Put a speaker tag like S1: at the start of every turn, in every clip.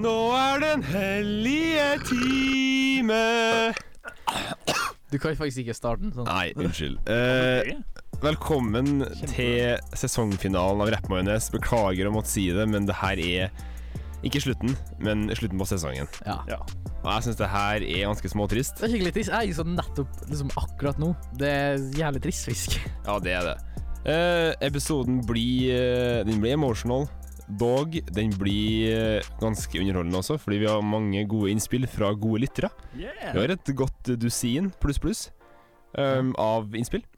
S1: Nå er den hellige time.
S2: Du kan faktisk ikke starte den sånn.
S1: Nei, unnskyld. Eh, velkommen til sesongfinalen av Rappmajones. Beklager å måtte si det, men det her er ikke slutten, men slutten på sesongen.
S2: Ja.
S1: Og jeg syns det her er ganske småtrist.
S2: Det er skikkelig trist. Jeg er sånn nettopp liksom akkurat nå. Det er jævlig trist, fisk.
S1: Ja, det er det. Eh, episoden blir eh, Den blir emotional. Dog, den blir eh, ganske underholdende også, fordi vi har mange gode innspill fra gode lyttere. Vi har et godt dusin pluss pluss ehm, av innspill.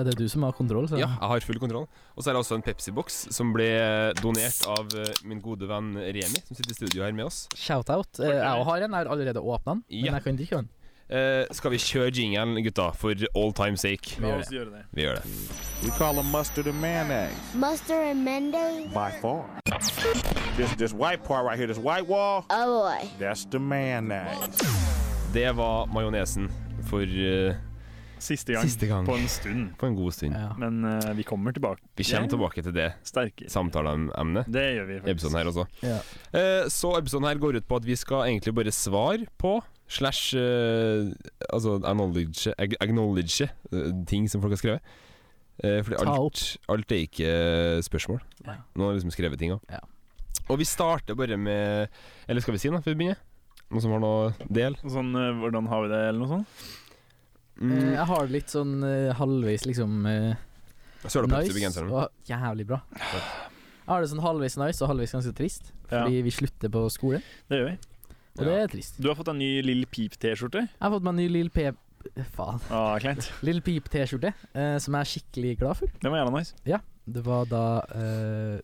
S2: Ja, det er du som har kontroll, så
S1: Ja, jeg har full kontroll. Og så er det også en Pepsi-boks som ble donert av eh, min gode venn Remi, som sitter i studio her med oss.
S2: shout-out. Eh, Jeg har en, jeg har allerede åpna den,
S1: Ja.
S2: men jeg kan drikke den.
S1: Eh, skal vi kjøre jingelen, gutta, for all time sake?
S2: Vi
S3: La
S2: gjør
S3: oss
S2: det.
S3: gjøre det.
S1: Vi gjør det.
S4: We call them mustard and mayonnaise.
S5: Mustard and Mendes?
S4: By far. This this white part right here, this white wall,
S5: Oh boy.
S4: that's the mayonnaise.
S1: Det var majonesen for eh,
S3: Siste gang,
S1: Siste gang.
S3: på en stund.
S1: på en god stund.
S2: Ja.
S3: Men eh, vi kommer tilbake
S1: Vi kommer tilbake til det
S3: sterkere.
S1: samtaleemnet.
S3: Det gjør vi
S1: i episoden
S3: faktisk.
S1: her også.
S2: Ja.
S1: Eh, så episoden her går ut på at vi skal egentlig bare svare på slash eh, Altså acknowledge, ag- acknowledge eh, ting som folk har skrevet. Eh, fordi
S2: Ta opp.
S1: alt, alt er ikke eh, spørsmål.
S2: Nei.
S1: Noen har liksom skrevet ting òg.
S2: Ja.
S1: Og vi starter bare med Eller skal vi si noe før vi begynner? Noen som har noe del?
S3: Sånn eh, hvordan har vi det, eller noe sånt?
S2: Eh,
S1: Mm.
S2: Jeg har det litt sånn eh, halvveis liksom eh,
S1: Søla Pepsi på
S2: nice
S1: genseren.
S2: og jævlig bra. Jeg har det sånn halvveis nice og halvveis ganske trist,
S3: Ja.
S2: fordi vi slutter på skole,
S3: Det gjør vi.
S2: og det er trist.
S3: Du har fått en ny Lill Peep-T-skjorte.
S2: Jeg har fått meg en ny Lill P... Faen.
S3: Ah, kleint.
S2: Lill Peep-T-skjorte, eh, som jeg er skikkelig glad for.
S3: Det var jævla nice.
S2: Det var da eh,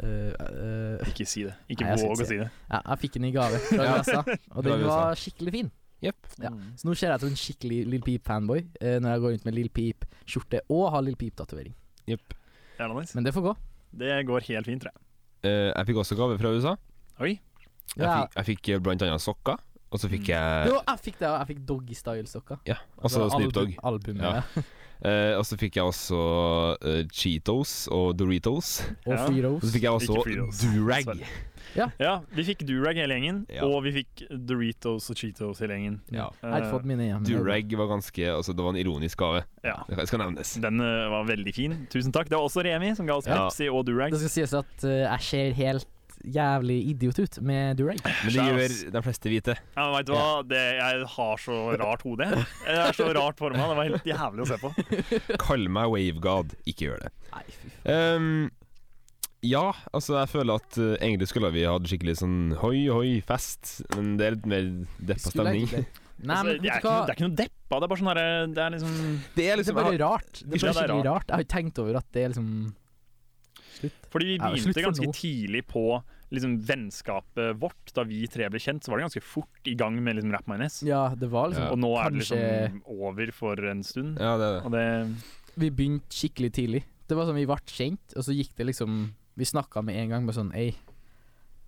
S2: eh, eh,
S3: Ikke si det. Ikke
S2: Nei, jeg skal
S3: våg
S2: ikke
S3: å si det.
S2: Ja, jeg fikk den i gave fra
S1: Ja.
S2: USA, og
S1: Fra
S2: den
S1: USA.
S2: var skikkelig fin. Ja.
S3: Mm.
S2: Så nå ser jeg ut som en skikkelig Lill Peep-fanboy eh, når jeg går rundt med Lill Peep-skjorte og har Lill Peep-tatovering.
S1: Jepp.
S3: Jævla nice.
S2: Men det får gå.
S3: Det går helt fint, tror jeg.
S1: Eh, jeg fikk også gave fra USA.
S3: Oi.
S1: Jeg
S2: Ja.
S1: fikk, jeg fikk eh, blant annet sokker, og så fikk jeg
S2: Jo, jeg fikk det, og jeg fikk Doggy Style-sokker.
S1: Ja, altså
S2: Det var
S1: Snoop Dogg.
S2: albu- Albumet,
S1: Ja.
S2: ja.
S1: Eh, og så fikk jeg også eh, Cheetos og Doritos.
S2: Og
S3: Ja.
S1: Og så
S2: Freeros.
S1: fikk jeg også
S3: Ikke Fritos.
S1: Durag.
S3: Sorry. Ja, vi fikk durag hele gjengen,
S1: Ja.
S3: og vi fikk Doritos og Cheetos hele gjengen.
S1: Ja.
S2: Mm. Jeg har ikke fått mine hjemme.
S1: Durag var ganske Altså, det var en ironisk gave.
S3: Ja.
S1: Det skal nevnes.
S3: Den eh, var veldig fin. Tusen takk. Det var også Remi som ga oss
S1: Ja.
S3: Pepsi og durag.
S2: Det skal sies at eh, jeg ser helt jævlig idiot ut med durag.
S1: Men det gjør de fleste hvite.
S3: Ja, men vet du hva? Det, jeg har så rart hode. Jeg er så rart forma. Det var helt jævlig å se på.
S1: Kall meg wavegod. Ikke gjør det.
S2: Nei, fy faen.
S1: Ehm, ja, altså, jeg føler at eh, egentlig skulle vi hatt skikkelig sånn hoi, hoi, fest, men det er litt mer deppa
S2: Skulle
S1: stemning.
S2: jeg ikke det? Nei,
S3: Altså,
S2: men
S3: det, er
S2: vet du
S3: ikke, noe- det
S2: hva?
S3: er ikke noe deppa. Det er bare sånn herre Det er liksom
S1: Det er
S2: Det er
S1: liksom
S2: bare
S1: jeg,
S2: rart. Det er
S3: Ja,
S2: bare
S3: det er
S2: skikkelig rart. Jeg har ikke tenkt over at det er liksom
S3: Fordi vi
S2: Ja, slutt
S3: begynte
S2: for
S3: ganske
S2: nå.
S3: tidlig på liksom, vennskapet vårt. Da vi tre ble kjent, så var det ganske fort i gang med liksom, Rap Mayonnaise.
S2: Ja, det var liksom
S1: Ja.
S3: Og nå er det
S2: Kanskje-
S3: liksom over for en stund.
S1: Ja, det er det.
S3: Og det
S2: Vi begynte skikkelig tidlig. Det var sånn Vi ble kjent, og så gikk det liksom Vi snakka med en gang med sånn Ei,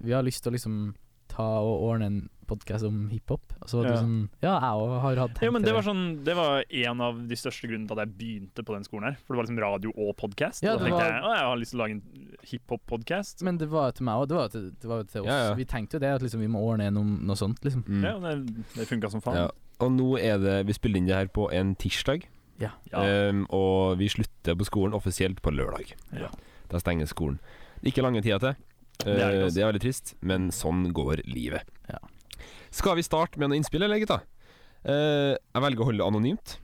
S2: vi har lyst til å liksom ta og ordne en podkast om hiphop. Og så var det
S3: Ja.
S2: sånn Ja, jeg òg har hatt tenkt
S3: Jo, men det
S2: til
S3: var sånn Det var en av de største grunnene til at jeg begynte på den skolen her. For det var liksom radio og podkast.
S2: Ja,
S3: og da
S2: det
S3: tenkte
S2: var-
S3: jeg å, jeg har lyst til å lage en hiphop-podkast.
S2: Men det var jo til meg òg. Det var jo til, det var jo til oss.
S1: Ja, ja.
S2: Vi tenkte jo det, at liksom vi må ordne noe, noe sånt, liksom.
S1: Mm.
S3: Ja, og det, det funka som faen.
S1: Ja. Og nå er det Vi spiller inn det her på en tirsdag.
S2: Ja.
S3: Ja.
S1: Ehm, og vi slutter på skolen offisielt på lørdag.
S3: Ja.
S1: Da stenger skolen. Ikke lange tida til. Eh,
S3: Det er
S1: det,
S3: det også.
S1: er veldig trist, men sånn går livet.
S2: Ja.
S1: Skal vi starte med noe innspill, eller, gutta? Eh, jeg velger å holde det anonymt.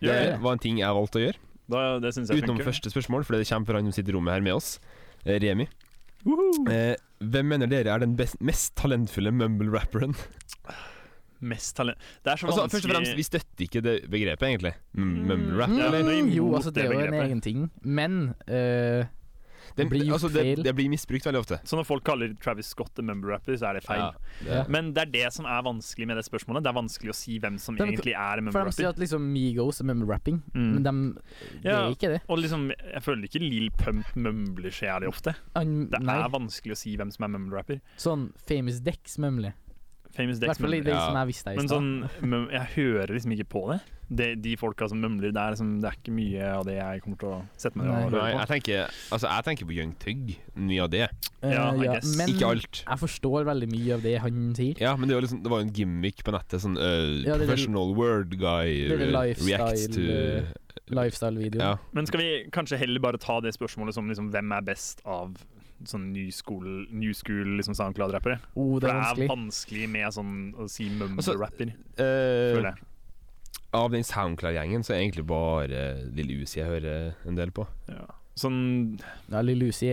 S3: Gjør
S1: Det
S2: det.
S1: var en ting jeg valgte å gjøre.
S3: Da, det syns jeg
S1: Utenom
S3: funker.
S1: første spørsmål, fordi det kommer fra han som sitter i rommet her med oss. eh, Remi. Eh, hvem mener dere er den best, mest talentfulle mumble-rapperen?
S3: Mest talent Det er så
S1: Altså, først og
S3: vanskelig
S1: fremst, vi støtter ikke det begrepet, egentlig.
S3: Mm.
S1: Mumble-rap.
S3: Ja,
S1: eller?
S3: men det er imot
S2: jo, altså, det er
S3: det
S2: jo en
S3: begrepet.
S2: egen ting, men eh,
S1: Det
S2: blir
S1: blir,
S2: gjort
S1: altså, det,
S2: feil.
S1: det blir misbrukt veldig ofte.
S3: Så når folk kaller Travis Scott en member-rapper, så er det feil.
S1: Ja,
S2: ja.
S3: Men det er det som er vanskelig med det spørsmålet. Det er vanskelig å si hvem som
S2: Det er-
S3: egentlig er en
S2: For de sier
S3: member-rapper.
S2: at liksom Migos er med rapping,
S3: Mm.
S2: men de Det
S3: Ja.
S2: er ikke det.
S3: Og liksom, jeg føler ikke Lill Pump mumler så jævlig ofte.
S2: Han-
S3: Det
S2: nei,
S3: er vanskelig å si hvem som er member-rapper.
S2: sånn Famous Dex mumler.
S3: Famous
S2: I
S3: Dex
S2: hvert fall i
S3: mumler.
S2: det
S1: Ja.
S2: som jeg visste her i
S3: Men
S2: stad.
S3: sånn, mum- jeg hører liksom ikke på det. de, de folka som mumler, det er, liksom, det er ikke mye av det jeg kommer til å sette meg ned og
S1: Nei,
S3: høre
S1: jeg
S3: på.
S1: tenker, altså, jeg tenker på Young Tug. Mye av det.
S2: Eh,
S3: Ja, I guess.
S2: Men
S1: Ikke alt.
S2: jeg forstår veldig mye av det han sier.
S1: Ja, men det var, liksom, det var jo en gimmick på nettet. Sånn eh,
S2: Ja, det er det-
S1: professional word guy
S2: det er det
S1: re- reacts to
S2: lifestyle, eh, Lifestyle-video.
S1: Ja.
S3: Men skal vi kanskje heller bare ta det spørsmålet som liksom, hvem er best av sånn new school, new school liksom SoundCloud-rappere?
S2: Oh,
S3: For
S2: det
S3: det
S2: er
S3: er
S2: vanskelig.
S3: vanskelig med sånn å si
S1: Altså,
S3: mumble-rapper,
S1: Eh,
S3: føler jeg.
S1: av den SoundCloud-gjengen så er det egentlig bare Lille Uzi jeg hører eh, en del på.
S3: Ja. Sånn
S2: Ja, Lille Lucy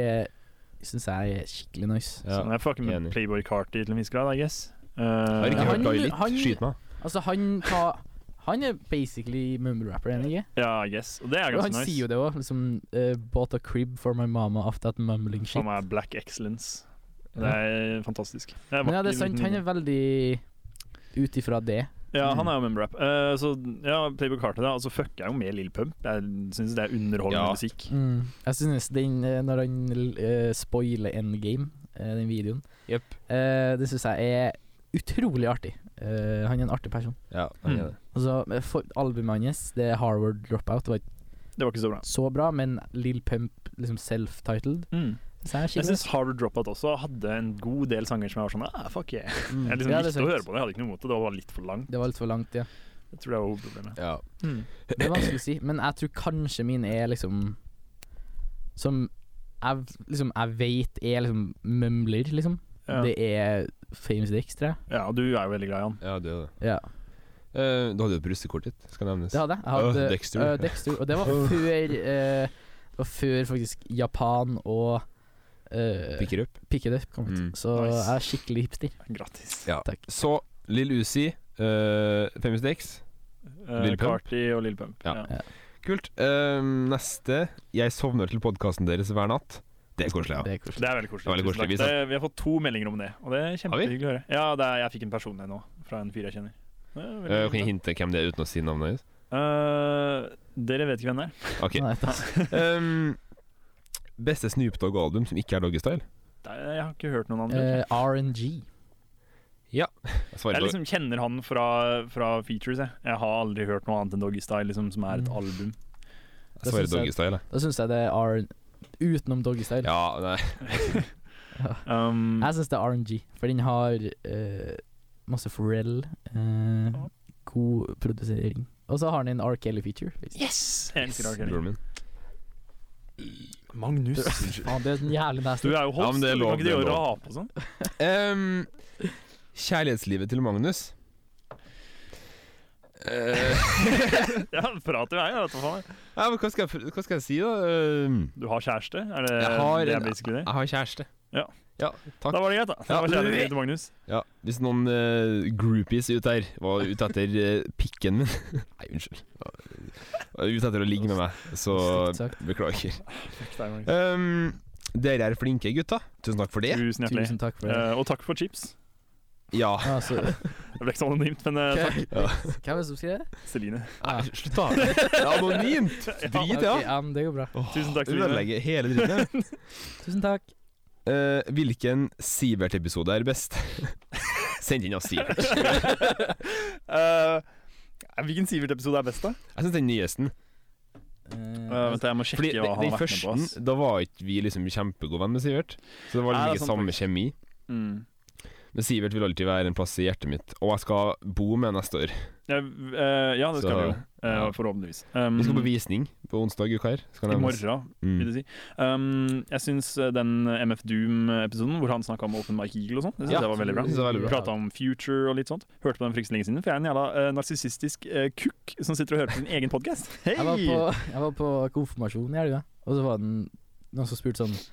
S2: syns jeg er skikkelig nice.
S1: Ja.
S3: Sånn, jeg fucker med
S1: enig.
S3: Playboy Carty til en viss grad, I guess. Eh,
S1: Jeg har ikke
S2: Ja,
S1: hørt
S2: han-
S1: Guy litt.
S2: han-
S1: Skyt meg.
S2: Altså, han ta, Han er basically mumble-rapper, enig ikke?
S3: ja, I guess. Og det er
S2: Og
S3: ganske
S2: han
S3: nice.
S2: sier jo det òg, liksom eh, Bought a crib for my mama after that mumbling shit.
S3: Som er Black Excellence. Det er fantastisk. Det er
S2: Men ja, det er
S3: vakker
S2: sant.
S3: liten-
S2: Han er veldig ut ifra det.
S3: Ja, han er jo member-rap. Eh, så ja, Playboy Carter, da. Og så fucker jeg jo med Lill Pump. Jeg syns det er underholdende
S1: Ja.
S3: musikk.
S1: Mm.
S2: Jeg synes den eh, Når han eh, spoiler Endgame, eh, den videoen,
S1: Jepp.
S2: eh, det syns jeg er utrolig artig. Eh, han er en artig person.
S1: Ja, han er
S3: Mm.
S1: det.
S2: Altså, eh, for, albumet hans, det er Harvard Dropout, var ikke
S3: Det var ikke så bra.
S2: så bra, men Lill Pump, liksom self-titled,
S3: Mm.
S2: synes jeg er
S3: Jeg
S2: skikkelig
S3: syns Harvard Dropout også hadde en god del sanger som jeg var sånn ah, fuck yeah. Jeg liksom
S2: Mm. Ja, det er
S3: likte å
S2: sant.
S3: høre på det, jeg hadde ikke noe imot det. Det var litt for langt.
S2: Det var litt for langt, ja.
S3: Jeg tror det var hovedproblemet.
S1: Ja.
S2: Det er vanskelig å si, men jeg tror kanskje min er liksom Som jeg, liksom, jeg vet er liksom mumler, liksom.
S3: Ja.
S2: Det er Famous Dicks, tror jeg.
S3: Ja, og du er jo veldig glad i han.
S1: ja, det er det.
S2: Ja,
S1: Eh, du hadde jo brystkortet ditt, skal nevnes.
S2: det hadde jeg. jeg
S1: Åh,
S2: hadde,
S1: Dexter.
S2: øh, Dexter. Og det var før eh, Det var før faktisk Japan og eh,
S1: Pick it up.
S2: Pick It Up kom ut.
S1: Mm.
S2: Så
S3: Nice.
S2: jeg er skikkelig hipster.
S3: Grattis.
S1: Ja.
S2: Takk.
S1: Så Lill Uzi, eh, Famous Dex.
S3: Eh,
S1: Lil Pump?
S3: Carti og Lill Pump.
S1: Ja. Kult. Eh, neste. Jeg sovner til podkasten deres hver natt. Det er koselig, ja.
S2: Det er koselig.
S3: Det er veldig koselig.
S1: Det var veldig
S3: Tusen
S1: koselig. Vi
S3: takk. Det, vi har fått to meldinger om det, og det er
S1: Har vi?
S3: kjempehyggelig å høre. Ja, det er, jeg fikk en person her nå, fra en fyr jeg kjenner. Det er veldig
S1: Eh, kan
S3: hyggelig.
S1: jeg hinte hvem det er uten å si navnet ditt?
S3: Eh, dere vet ikke hvem det er.
S1: Ok.
S2: Nei, da.
S1: Um, beste Snoop Dogg-album som ikke er Doggystyle?
S3: Det er- Jeg har ikke hørt noen andre.
S2: Eh, RNG.
S1: Jeg svarer
S3: Jeg
S1: på-
S3: liksom kjenner han fra, fra features. Jeg. jeg har aldri hørt noe annet enn Doggy Style, liksom, som er et
S2: Mm.
S3: album.
S1: jeg svarer
S2: synes jeg-
S1: Doggystyle, jeg.
S2: Da syns jeg det er R... Utenom Doggystyle.
S1: Ja, nei.
S3: Um,
S2: Jeg syns det er RNG, for den har eh, masse Pharrell, eh, god produsering. Og så har den en R. Kelly-feature.
S3: yes! Jeg elsker Arcade.
S1: Broren min.
S3: Magnus.
S2: Faen, det er en jævlig nasty.
S3: Du er
S1: Ja,
S3: jo host,
S1: men det er
S3: du
S1: lov,
S3: kan ikke
S1: det er
S3: drive og
S1: lov.
S3: rape og sånn.
S1: Um, kjærlighetslivet til Magnus. Eh,
S3: Ja, prat til meg, da. hva faen.
S1: ja, men hva, skal jeg, hva skal jeg si, da? Um,
S3: Du har kjæreste? Er det,
S1: Jeg har
S3: det er
S1: en-
S3: basically det?
S1: jeg har kjæreste.
S3: Ja.
S1: takk.
S3: Da var det greit, da. Det
S1: Ja.
S3: var kjærligheten til Magnus.
S1: Ja, Hvis noen eh, groupies ute her var ute etter eh, pikken min Nei, unnskyld. Var Ute etter å ligge med meg, så
S2: Stygt sagt.
S1: beklager.
S3: Fuck deg, Magnus.
S1: Um, dere er flinke gutta. Tusen takk for det.
S3: Tusen hjertelig.
S2: Tusen takk for det.
S3: Eh, og takk for chips.
S1: Ja.
S2: Ja, så-
S3: Det ble ikke så anonymt, men eh, takk,
S2: Hvem hvem er det som skriver det?
S3: Celine.
S1: Nei, Slutt, da. Det er anonymt. Drit, ja.
S2: Ok, ja, men det går bra.
S3: Tusen takk, Celine.
S1: Ødelegge hele dritten. her.
S2: Tusen takk.
S1: Eh, hvilken Sivert-episode er best? Send inn oss Sivert.
S3: Eh, hvilken Sivert-episode er best, da?
S1: Jeg syns den nyeste.
S2: Eh,
S3: vent, jeg må sjekke
S1: Fordi
S3: hva
S1: den,
S3: han
S1: den
S3: har vært med på. ass.
S1: første, da var ikke vi liksom kjempegode venn med Sivert. Så det var
S3: Nei,
S1: liksom
S3: det er
S1: ikke
S3: sant,
S1: samme kjemi.
S3: Mm.
S1: Men Sivert vil alltid være en plass i hjertet mitt, og jeg skal bo med neste år.
S3: Ja, v- eh, ja, det skal
S1: Så-
S3: vi jo. eh,
S1: ja.
S3: Forhåpentligvis. Um,
S1: Vi skal på visning på onsdag i uka her. Skal
S3: I
S1: nevnes.
S3: morgen, vil
S1: Mm.
S3: du si. Um, jeg syns den MF Doom-episoden hvor han snakka om Open Mike Eagle og sånn, jeg synes
S1: Ja,
S3: det var veldig bra.
S1: det var veldig bra.
S3: Prata om Future og litt sånt. Hørte på den for ikke så lenge siden, for jeg er en jævla eh, narsissistisk eh, kukk som sitter og hører på sin egen podkast. Hei!
S2: Jeg var på, jeg var på konfirmasjon i helga, og så var det en- noen som spurte sånn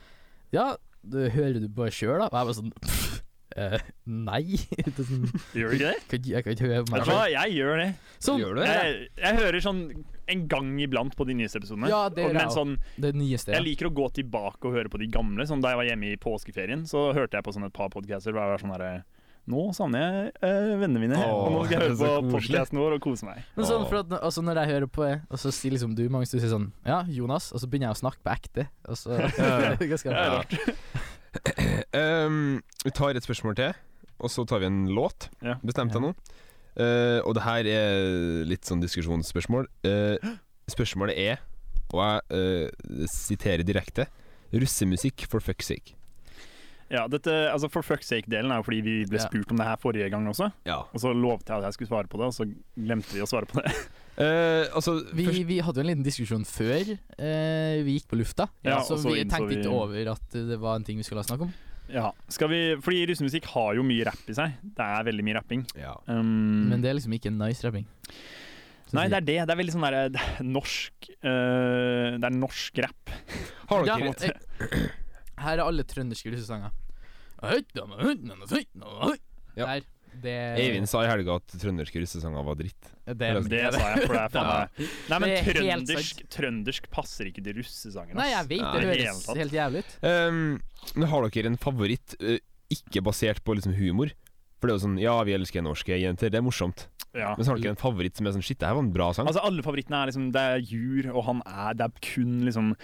S2: Ja, du, hører du på sjøl, da? Og jeg var sånn «Pff, eh, Nei. Det er sånn,
S3: Gjør du ikke det?
S2: kan ikke- jeg kan ikke høre på meg
S3: Vet du hva,
S2: selv.
S3: jeg gjør det.
S2: Sånn.
S1: Gjør du det?
S3: Jeg, jeg hører sånn en gang iblant på de nyeste episodene.
S2: Ja, det
S3: Og-
S2: gjør jeg
S3: men
S2: også.
S3: sånn,
S2: Det nyeste.
S3: jeg
S2: Ja.
S3: liker å gå tilbake og høre på de gamle. Sånn Da jeg var hjemme i påskeferien, så hørte jeg på sånn et par podcaster. hvor jeg var sånn herre Nå savner jeg eh, vennene mine,
S1: Åh,
S3: og nå skal jeg høre
S1: det er så
S3: på
S1: koselig.
S3: podcasten vår og kose meg.
S2: Men sånn, for at, altså, når jeg hører på det, og så sier liksom du Magnus, du sier sånn Ja, Jonas, og så begynner jeg å snakke på ekte. Og så
S1: Ja, ja.
S2: Ganske
S3: Det er
S2: rart.
S3: rart.
S1: Ehm, Um, vi tar et spørsmål til, og så tar vi en låt.
S3: Ja.
S1: Bestemte jeg nå? Eh, og det her er litt sånn diskusjonsspørsmål. Eh, spørsmålet er, og jeg eh, siterer direkte, russemusikk for fuck's sake.
S3: Ja, dette, altså For fuck's sake-delen er jo fordi vi ble
S2: Ja.
S3: spurt om det her forrige gang også.
S1: Ja.
S3: Og så lovte jeg at jeg skulle svare på det, og så glemte vi å svare på det.
S1: altså,
S2: Vi,
S1: først,
S2: vi hadde jo en liten diskusjon før eh, vi gikk på lufta,
S3: Ja,
S2: så,
S3: og så
S2: vi
S3: innså
S2: tenkte
S3: vi-
S2: ikke over at det var en ting vi skulle snakke om.
S3: Ja, skal vi, Fordi russemusikk har jo mye rapp i seg. Det er veldig mye rapping.
S1: ja.
S3: Um,
S2: Men det er liksom ikke en nice rapping. Så
S3: Nei,
S2: å si.
S3: det er det. Det er veldig sånn derre det er norsk eh, Det er norsk rapp.
S1: Har
S2: Ja,
S1: dere
S2: eh, Her er alle trønderske russesanger.
S1: Ja.
S2: Der. Det,
S1: Eivind sa i helga at trønderske russesanger var dritt.
S2: det,
S3: Det sa jeg, for det er faen meg Nei, men
S2: Det er helt
S3: trøndersk, trøndersk passer ikke til russesangen. ass.
S2: Nei, jeg vet det.
S1: Nei,
S3: i det
S2: høres
S3: hele tatt.
S2: helt jævlig ut.
S1: Ehm, men har dere en favoritt eh, ikke basert på liksom humor? For det er jo sånn Ja, vi elsker norske jenter, det er morsomt.
S3: Ja.
S1: Men så har dere en favoritt som er sånn Shit, det her var en bra sang.
S3: Altså Alle favorittene er liksom Det er Jur, og han er Det er kun liksom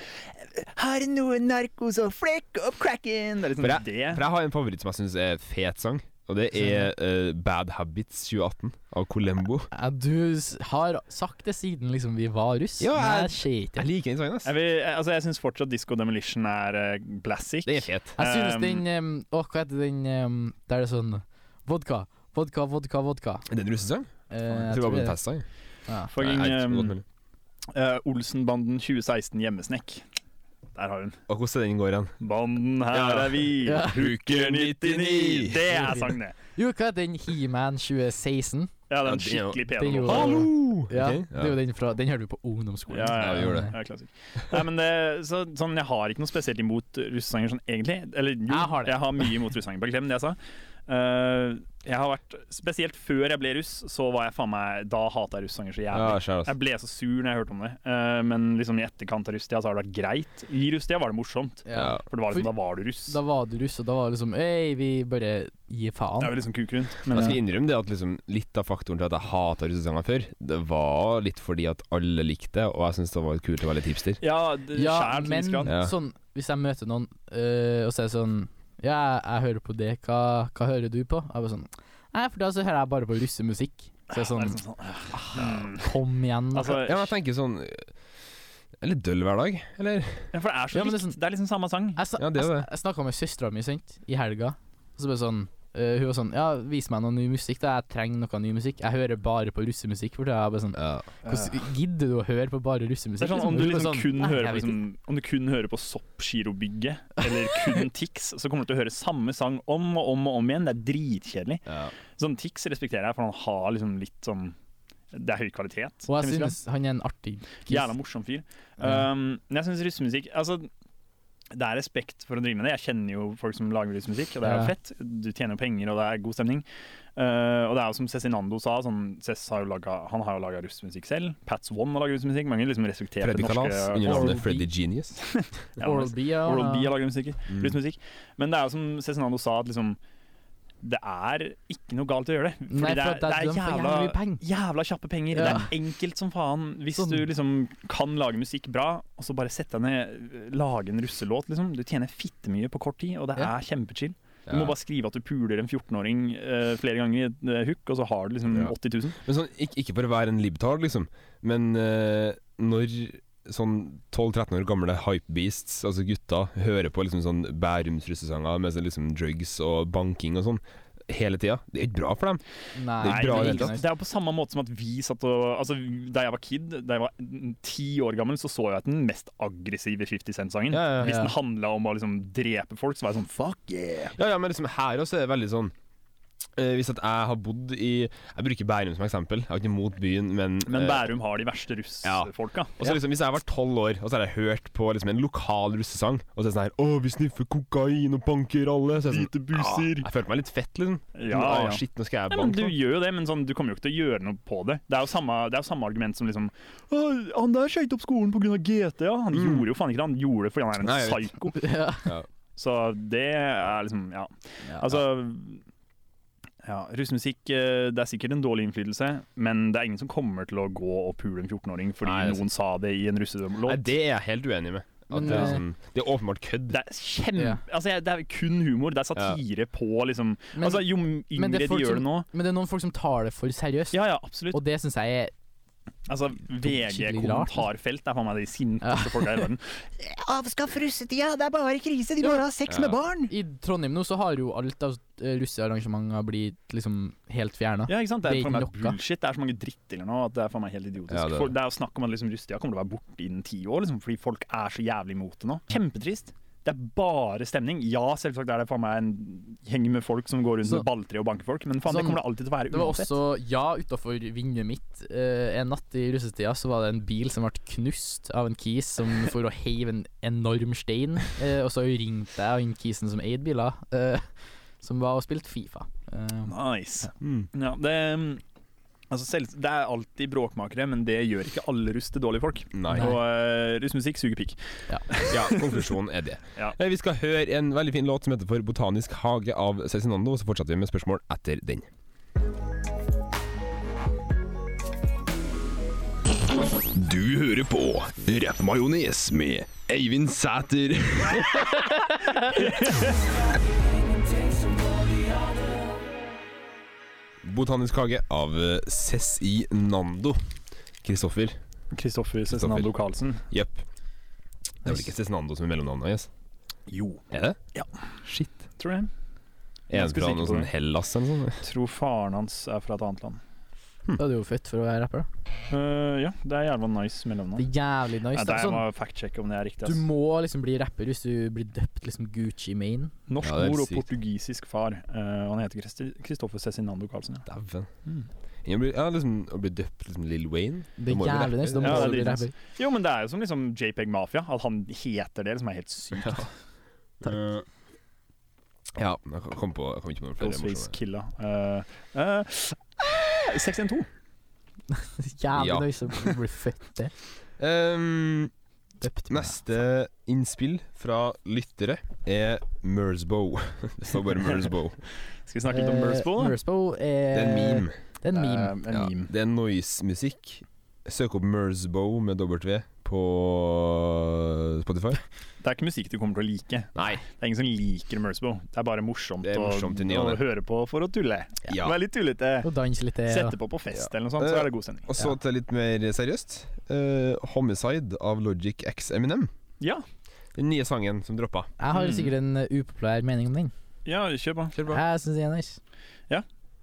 S3: Har noe narko, så flekk opp cracken! Det er liksom
S1: For jeg,
S3: det.
S1: for jeg har en favoritt som jeg syns er fet sang, og det er eh, Bad Habits 2018 av Colembo.
S2: Ja, du s- har sagt det siden liksom vi var russ.
S1: Ja, jeg-
S2: Nei, shit,
S1: Jeg
S2: jeg,
S1: liker den sangen, ass.
S3: Jeg, vil, altså, jeg syns fortsatt Disco Demolition er eh, classic.
S1: Det er fet.
S2: jeg synes
S3: Um,
S2: den um, Å, hva heter den um, der det er sånn Vodka, vodka, vodka, vodka.
S1: Er det en russesang?
S2: Eh,
S1: Jeg
S2: jeg
S1: tror det var
S2: tror
S1: på en
S2: det-
S1: festsang.
S2: ja.
S3: Fucking
S1: Nei, jeg vet ikke, godt mulig.
S3: um, eh, Olsenbanden 2016 Hjemmesnekk. Der har hun.
S1: Og hvordan den går igjen.
S3: Banden her
S1: Ja.
S3: er vi,
S2: Ja.
S3: hooker 99. Det er sangen, det.
S2: Jo, hva heter den He-Man 2016?
S3: Ja, den
S1: det er jo-
S3: skikkelig
S2: det er
S3: pene
S2: jo-
S3: låta.
S2: Ja,
S1: Uh! Ok,
S2: Det er jo den fra Den hørte vi på ungdomsskolen. Eh,
S3: Ja, ja,
S1: ja, vi gjorde det.
S3: Ja, klassisk. Nei, men det, så, sånn, jeg har ikke noe spesielt imot russesanger sånn egentlig. Eller jo,
S2: Jeg har det.
S3: mye imot russesanger. Bare glem det jeg sa. Eh, jeg har vært, Spesielt før jeg ble russ, så var jeg faen meg Da hata jeg russesanger så
S1: Ja,
S3: jævlig.
S1: skjær, ass.
S3: jeg ble så sur når jeg hørte om det. Eh, men liksom i etterkant av russetida så har det vært greit. I russetida var det morsomt.
S1: Ja.
S3: For det var liksom,
S2: For-
S3: da var du russ.
S2: Da var du russ, og da var det liksom Øy, vi bare gir
S3: Det er
S2: faen.
S3: jo liksom kuk rundt. Men
S1: Jeg skal innrømme det at liksom, litt av faktoren til at jeg hata russesanger før, det var litt fordi at alle likte det, og jeg syntes det var kult å være litt hipster.
S3: ja, det
S2: Ja,
S3: skjær til en
S2: men
S3: viss grad.
S1: Ja.
S2: sånn Hvis jeg møter noen øh, og så er det sånn Ja, jeg, jeg hører på det, hva, hva hører du på? Jeg bare sånn Nei, for da så hører jeg bare på russemusikk. Så jeg er
S3: Det er
S2: sånn
S3: liksom sånn, ja. Mm.
S2: Kom igjen, da.
S3: Altså,
S1: Ja, men jeg tenker sånn eh, Jeg er litt døll hver dag, eller?
S3: Ja, for det er så
S2: Ja, men det er
S3: likt. Det
S2: sånn-
S3: er, liksom samme sang.
S2: Jeg, sa-
S1: Ja, det er
S2: jeg,
S1: det.
S2: jeg snakka med søstera mi sant, i helga. Og så ble det sånn øh, Hun var sånn Ja, vis meg noe ny musikk, da. Jeg trenger noe ny musikk. Jeg hører bare på russemusikk. For da er jeg bare sånn
S1: Ja.
S2: Hvordan gidder du å høre på bare russemusikk?
S3: Det er sånn, om,
S2: liksom?
S3: du
S2: Hun bare
S3: liksom
S2: sånn,
S3: kun
S2: «Nei, jeg
S3: hører på,
S2: vet
S3: liksom, om du kun hører på Soppgirobygget eller kun Tix, så kommer du til å høre samme sang om og om og om igjen. Det er dritkjedelig.
S1: Ja.
S3: Sånn Tix respekterer jeg, for han har liksom litt sånn Det er høy kvalitet.
S2: Og jeg
S3: til en viss grad.
S2: synes han er en artig kiss.
S3: Jævla morsom fyr.
S2: Ja.
S3: Um, men jeg syns russemusikk Altså, det er respekt for å drive med det. Jeg kjenner jo folk som lager russemusikk, og det er
S2: Ja.
S3: jo fett. Du tjener jo penger, og det er god stemning. Uh, og det er jo som Cezinando sa, sånn, Cez har jo laget, han har jo laga russemusikk selv. Pats One har laga russemusikk. Mange liksom respekterer
S1: Freddy
S3: det norske
S1: Kalas under
S2: Oral
S1: navnet
S2: B.
S1: Freddy Genius.
S3: Ja,
S2: Oral B, ja.
S3: Oral B har laget musikk.
S1: Mm.
S3: Rusmusikk. Men det er jo som Cezinando sa, at liksom Det er ikke noe galt å gjøre det. Fordi
S2: Nei, for
S3: det er,
S2: at det er
S3: det er
S2: dømt for
S3: jævla,
S2: jævlig peng.
S3: jævla kjappe penger. Det
S2: Ja.
S3: er enkelt som faen. Hvis
S2: Sånn.
S3: du liksom kan lage musikk bra, og så bare sette deg ned, lage en russelåt, liksom. Du tjener fittemye på kort tid, og det
S2: Ja.
S3: er kjempechill. Du
S1: Ja.
S3: må bare skrive at du puler en 14-åring eh, flere ganger i et eh, hook, og så har du liksom
S1: Ja.
S3: 80 000.
S1: Men sånn, ikke, ikke for å være en libtard, liksom, men eh, når sånn 12-13 år gamle hypebeasts, altså gutta, hører på liksom sånn Bærums russesanger med sånn liksom drugs og banking og sånn hele tida, det er ikke bra for dem.
S2: Nei,
S1: Det er bra i
S2: det
S1: det hele tatt.
S2: ikke nice.
S3: Det er på samme måte som at vi satt og Altså, Da jeg var kid, da jeg var ti år gammel, så så jeg at den mest aggressive 50 Cent-sangen.
S1: Ja, ja,
S3: Hvis
S1: ja.
S3: den handla om å liksom drepe folk, så var jeg sånn fuck yeah!
S1: ja, ja men liksom her også er det veldig sånn eh, Hvis at jeg har bodd i Jeg bruker Bærum som eksempel, jeg har ikke noe imot byen, men,
S3: Men
S1: eh,
S3: Bærum har de verste russfolka.
S1: Og så liksom, Hvis jeg var tolv år og så har jeg hørt på liksom, en lokal russesang Og så er det sånn her 'Å, vi sniffer kokain og banker alle' så er jeg sånn,
S3: Hvite busser.
S1: «Ah, Jeg følte meg litt fett, liksom.
S3: Ja,
S1: Sånn, «Ah,
S3: ja.
S1: shit, nå skal jeg
S3: Nei, men
S1: banke
S3: Du
S1: noen».
S3: gjør jo det, men sånn, du kommer jo ikke til å gjøre noe på det. Det er jo samme, det er jo samme argument som liksom «Å, Han der skøyt opp skolen pga. GT, ja. Han
S1: Mm.
S3: gjorde jo faen ikke det, han gjorde det fordi han er en
S1: Nei, jeg vet.
S3: psyko.
S2: Ja.
S3: Så det er liksom Ja. Altså ja, Russmusikk eh, det er sikkert en dårlig innflytelse, men det er ingen som kommer til å gå og pule en 14-åring fordi
S2: altså-
S1: Nei, det er
S3: noen sa det i en russelåt.
S1: Nei, det er jeg helt uenig med. At
S2: Men,
S1: det, er
S2: eh,
S1: sånn, det er åpenbart kødd.
S3: Det er kjempe...
S2: Ja.
S3: Altså, jeg- det er kun humor. Det er satire på liksom
S2: Men,
S3: Altså, jo yngre
S2: det er
S3: de
S2: folk
S3: gjør
S2: som-
S3: det nå
S2: men det er noen folk som tar det for seriøst,
S3: Ja, ja, absolutt.
S2: og det syns jeg er
S3: Altså,
S2: skikkelig rart.
S3: VG-kommentarfelt er faen meg de sinteste
S2: Ja.
S3: folka i hele verden.
S6: altså. Avskaff russetida, det er bare krise, de bare har sex
S1: Ja.
S6: med barn!
S2: I Trondheim nå så har jo alt av eh, russearrangementer blitt liksom helt fjerna.
S3: Ja, ikke sant? Det
S2: Det
S3: er
S2: er
S3: for meg
S2: ikke noe.
S3: bullshit. Det er så mange drittdeler nå at det er for meg helt idiotisk.
S1: Ja, det
S3: det,
S1: er
S3: er.
S1: det.
S3: det er jo snakk om at liksom, russetida kommer til å være borte innen ti år, liksom, fordi folk er så jævlig imot det nå. Kjempetrist. Det er bare stemning. Ja, selvsagt er det faen meg en gjeng med folk som går rundt
S2: Så-
S3: med balltre og banker folk, men faen,
S2: Sånn-
S3: det kommer det alltid til å være
S2: Det var
S3: uansett.
S2: også Ja, utafor vinduet mitt eh, en natt i russetida så var det en bil som ble knust av en kis som for å heive en enorm stein. eh, og så ringte jeg han kisen som eide biler, eh, som var og spilte Fifa. Eh,
S3: Nice.
S1: Mm.
S3: Ja, det, altså, selv, det er alltid bråkmakere, men det gjør ikke alle russ til dårlige folk.
S1: Nei.
S3: Og eh, russmusikk suger pikk.
S1: Ja, konklusjonen er det.
S3: Ja.
S1: Eh, Vi skal høre en veldig fin låt som heter for 'Botanisk hage' av Cezinando, og så fortsetter vi med spørsmål etter den. Du hører på Rappmajones med Eivind Sæter. Botanisk hage av Cezinando. Kristoffer.
S3: Kristoffer
S1: Cezinando
S3: Karlsen.
S1: Jepp. Det er vel ikke Cezinando som er mellomnavnet hans?
S3: Jo.
S1: Er det?
S3: Shit. Tror jeg.
S1: Er han
S3: Ganske
S1: fra
S3: sikker
S1: noe
S3: på
S1: sånn
S3: det.
S1: Hellas eller noe sånt?
S3: Tror faren hans er fra et annet land. Hm.
S2: da er du jo født for å være rapper, da.
S3: Eh, ja, det er jævla nice
S2: Det
S3: mellomnavn.
S2: er jævlig nice.
S3: Ja,
S2: da.
S3: der jeg
S2: sånn,
S3: må fact-sjekke om det er riktig.
S2: du
S3: ass.
S2: må liksom bli rapper hvis du blir døpt liksom Gucci Mane.
S3: Norsk
S1: Ja, det er
S3: mor og
S1: sykt.
S3: portugisisk far. eh, og han heter Christi- Kristoffer Cezinando Karlsen. Ja.
S1: Dæven.
S3: Mm.
S1: Jeg blir, ja, liksom, å bli døpt liksom Lill Wayne.
S2: Det
S1: Da
S2: er
S1: må du bli
S2: jævlig nice. Da
S1: rapper.
S2: må
S3: Ja,
S2: du
S3: det er
S2: bli
S3: nice.
S2: rapper.
S3: Jo, men det er jo som liksom JPEG Mafia, at han heter det, som er helt sykt.
S1: Eh, ja, jeg kom, på, jeg kom ikke på noen flere
S3: Ghostface
S1: morsomme.
S3: Killa. Uh, uh, eh, 612.
S2: Jævlig
S1: Ja.
S2: nice å bli født til.
S1: Ehm,
S2: Døpt.
S1: neste innspill fra lyttere er Merzbow. Det står bare Merzbow.
S3: Skal vi snakke litt om Mursbo?
S2: Eh,
S3: da?
S2: Mursbo er
S1: Det er en meme.
S2: Det er en meme.
S3: Eh, en
S1: Ja,
S3: meme.
S1: det er noise-musikk. Søk opp Merzbow med W på Spotify.
S3: Det er ikke musikk du kommer til å like.
S1: Nei.
S3: Det er ingen som liker Mursbo. Det er bare morsomt,
S1: Det er morsomt i ny
S3: å,
S1: og
S3: å
S1: ne.
S3: høre på for å tulle.
S1: Ja. Eh,
S3: Vær litt tullete.
S2: Og danse litt til.
S3: Sette på på fest eller noe sånt, så er det god stemning.
S1: Og så til litt mer seriøst. eh, Homicide av Logic X Eminem.
S3: Ja,
S1: Den nye sangen som droppa.
S2: Jeg har
S3: Mm.
S2: sikkert en uh, upopulær mening om den.
S3: ja kjør på.
S1: Kjør
S2: Jeg syns den er nice.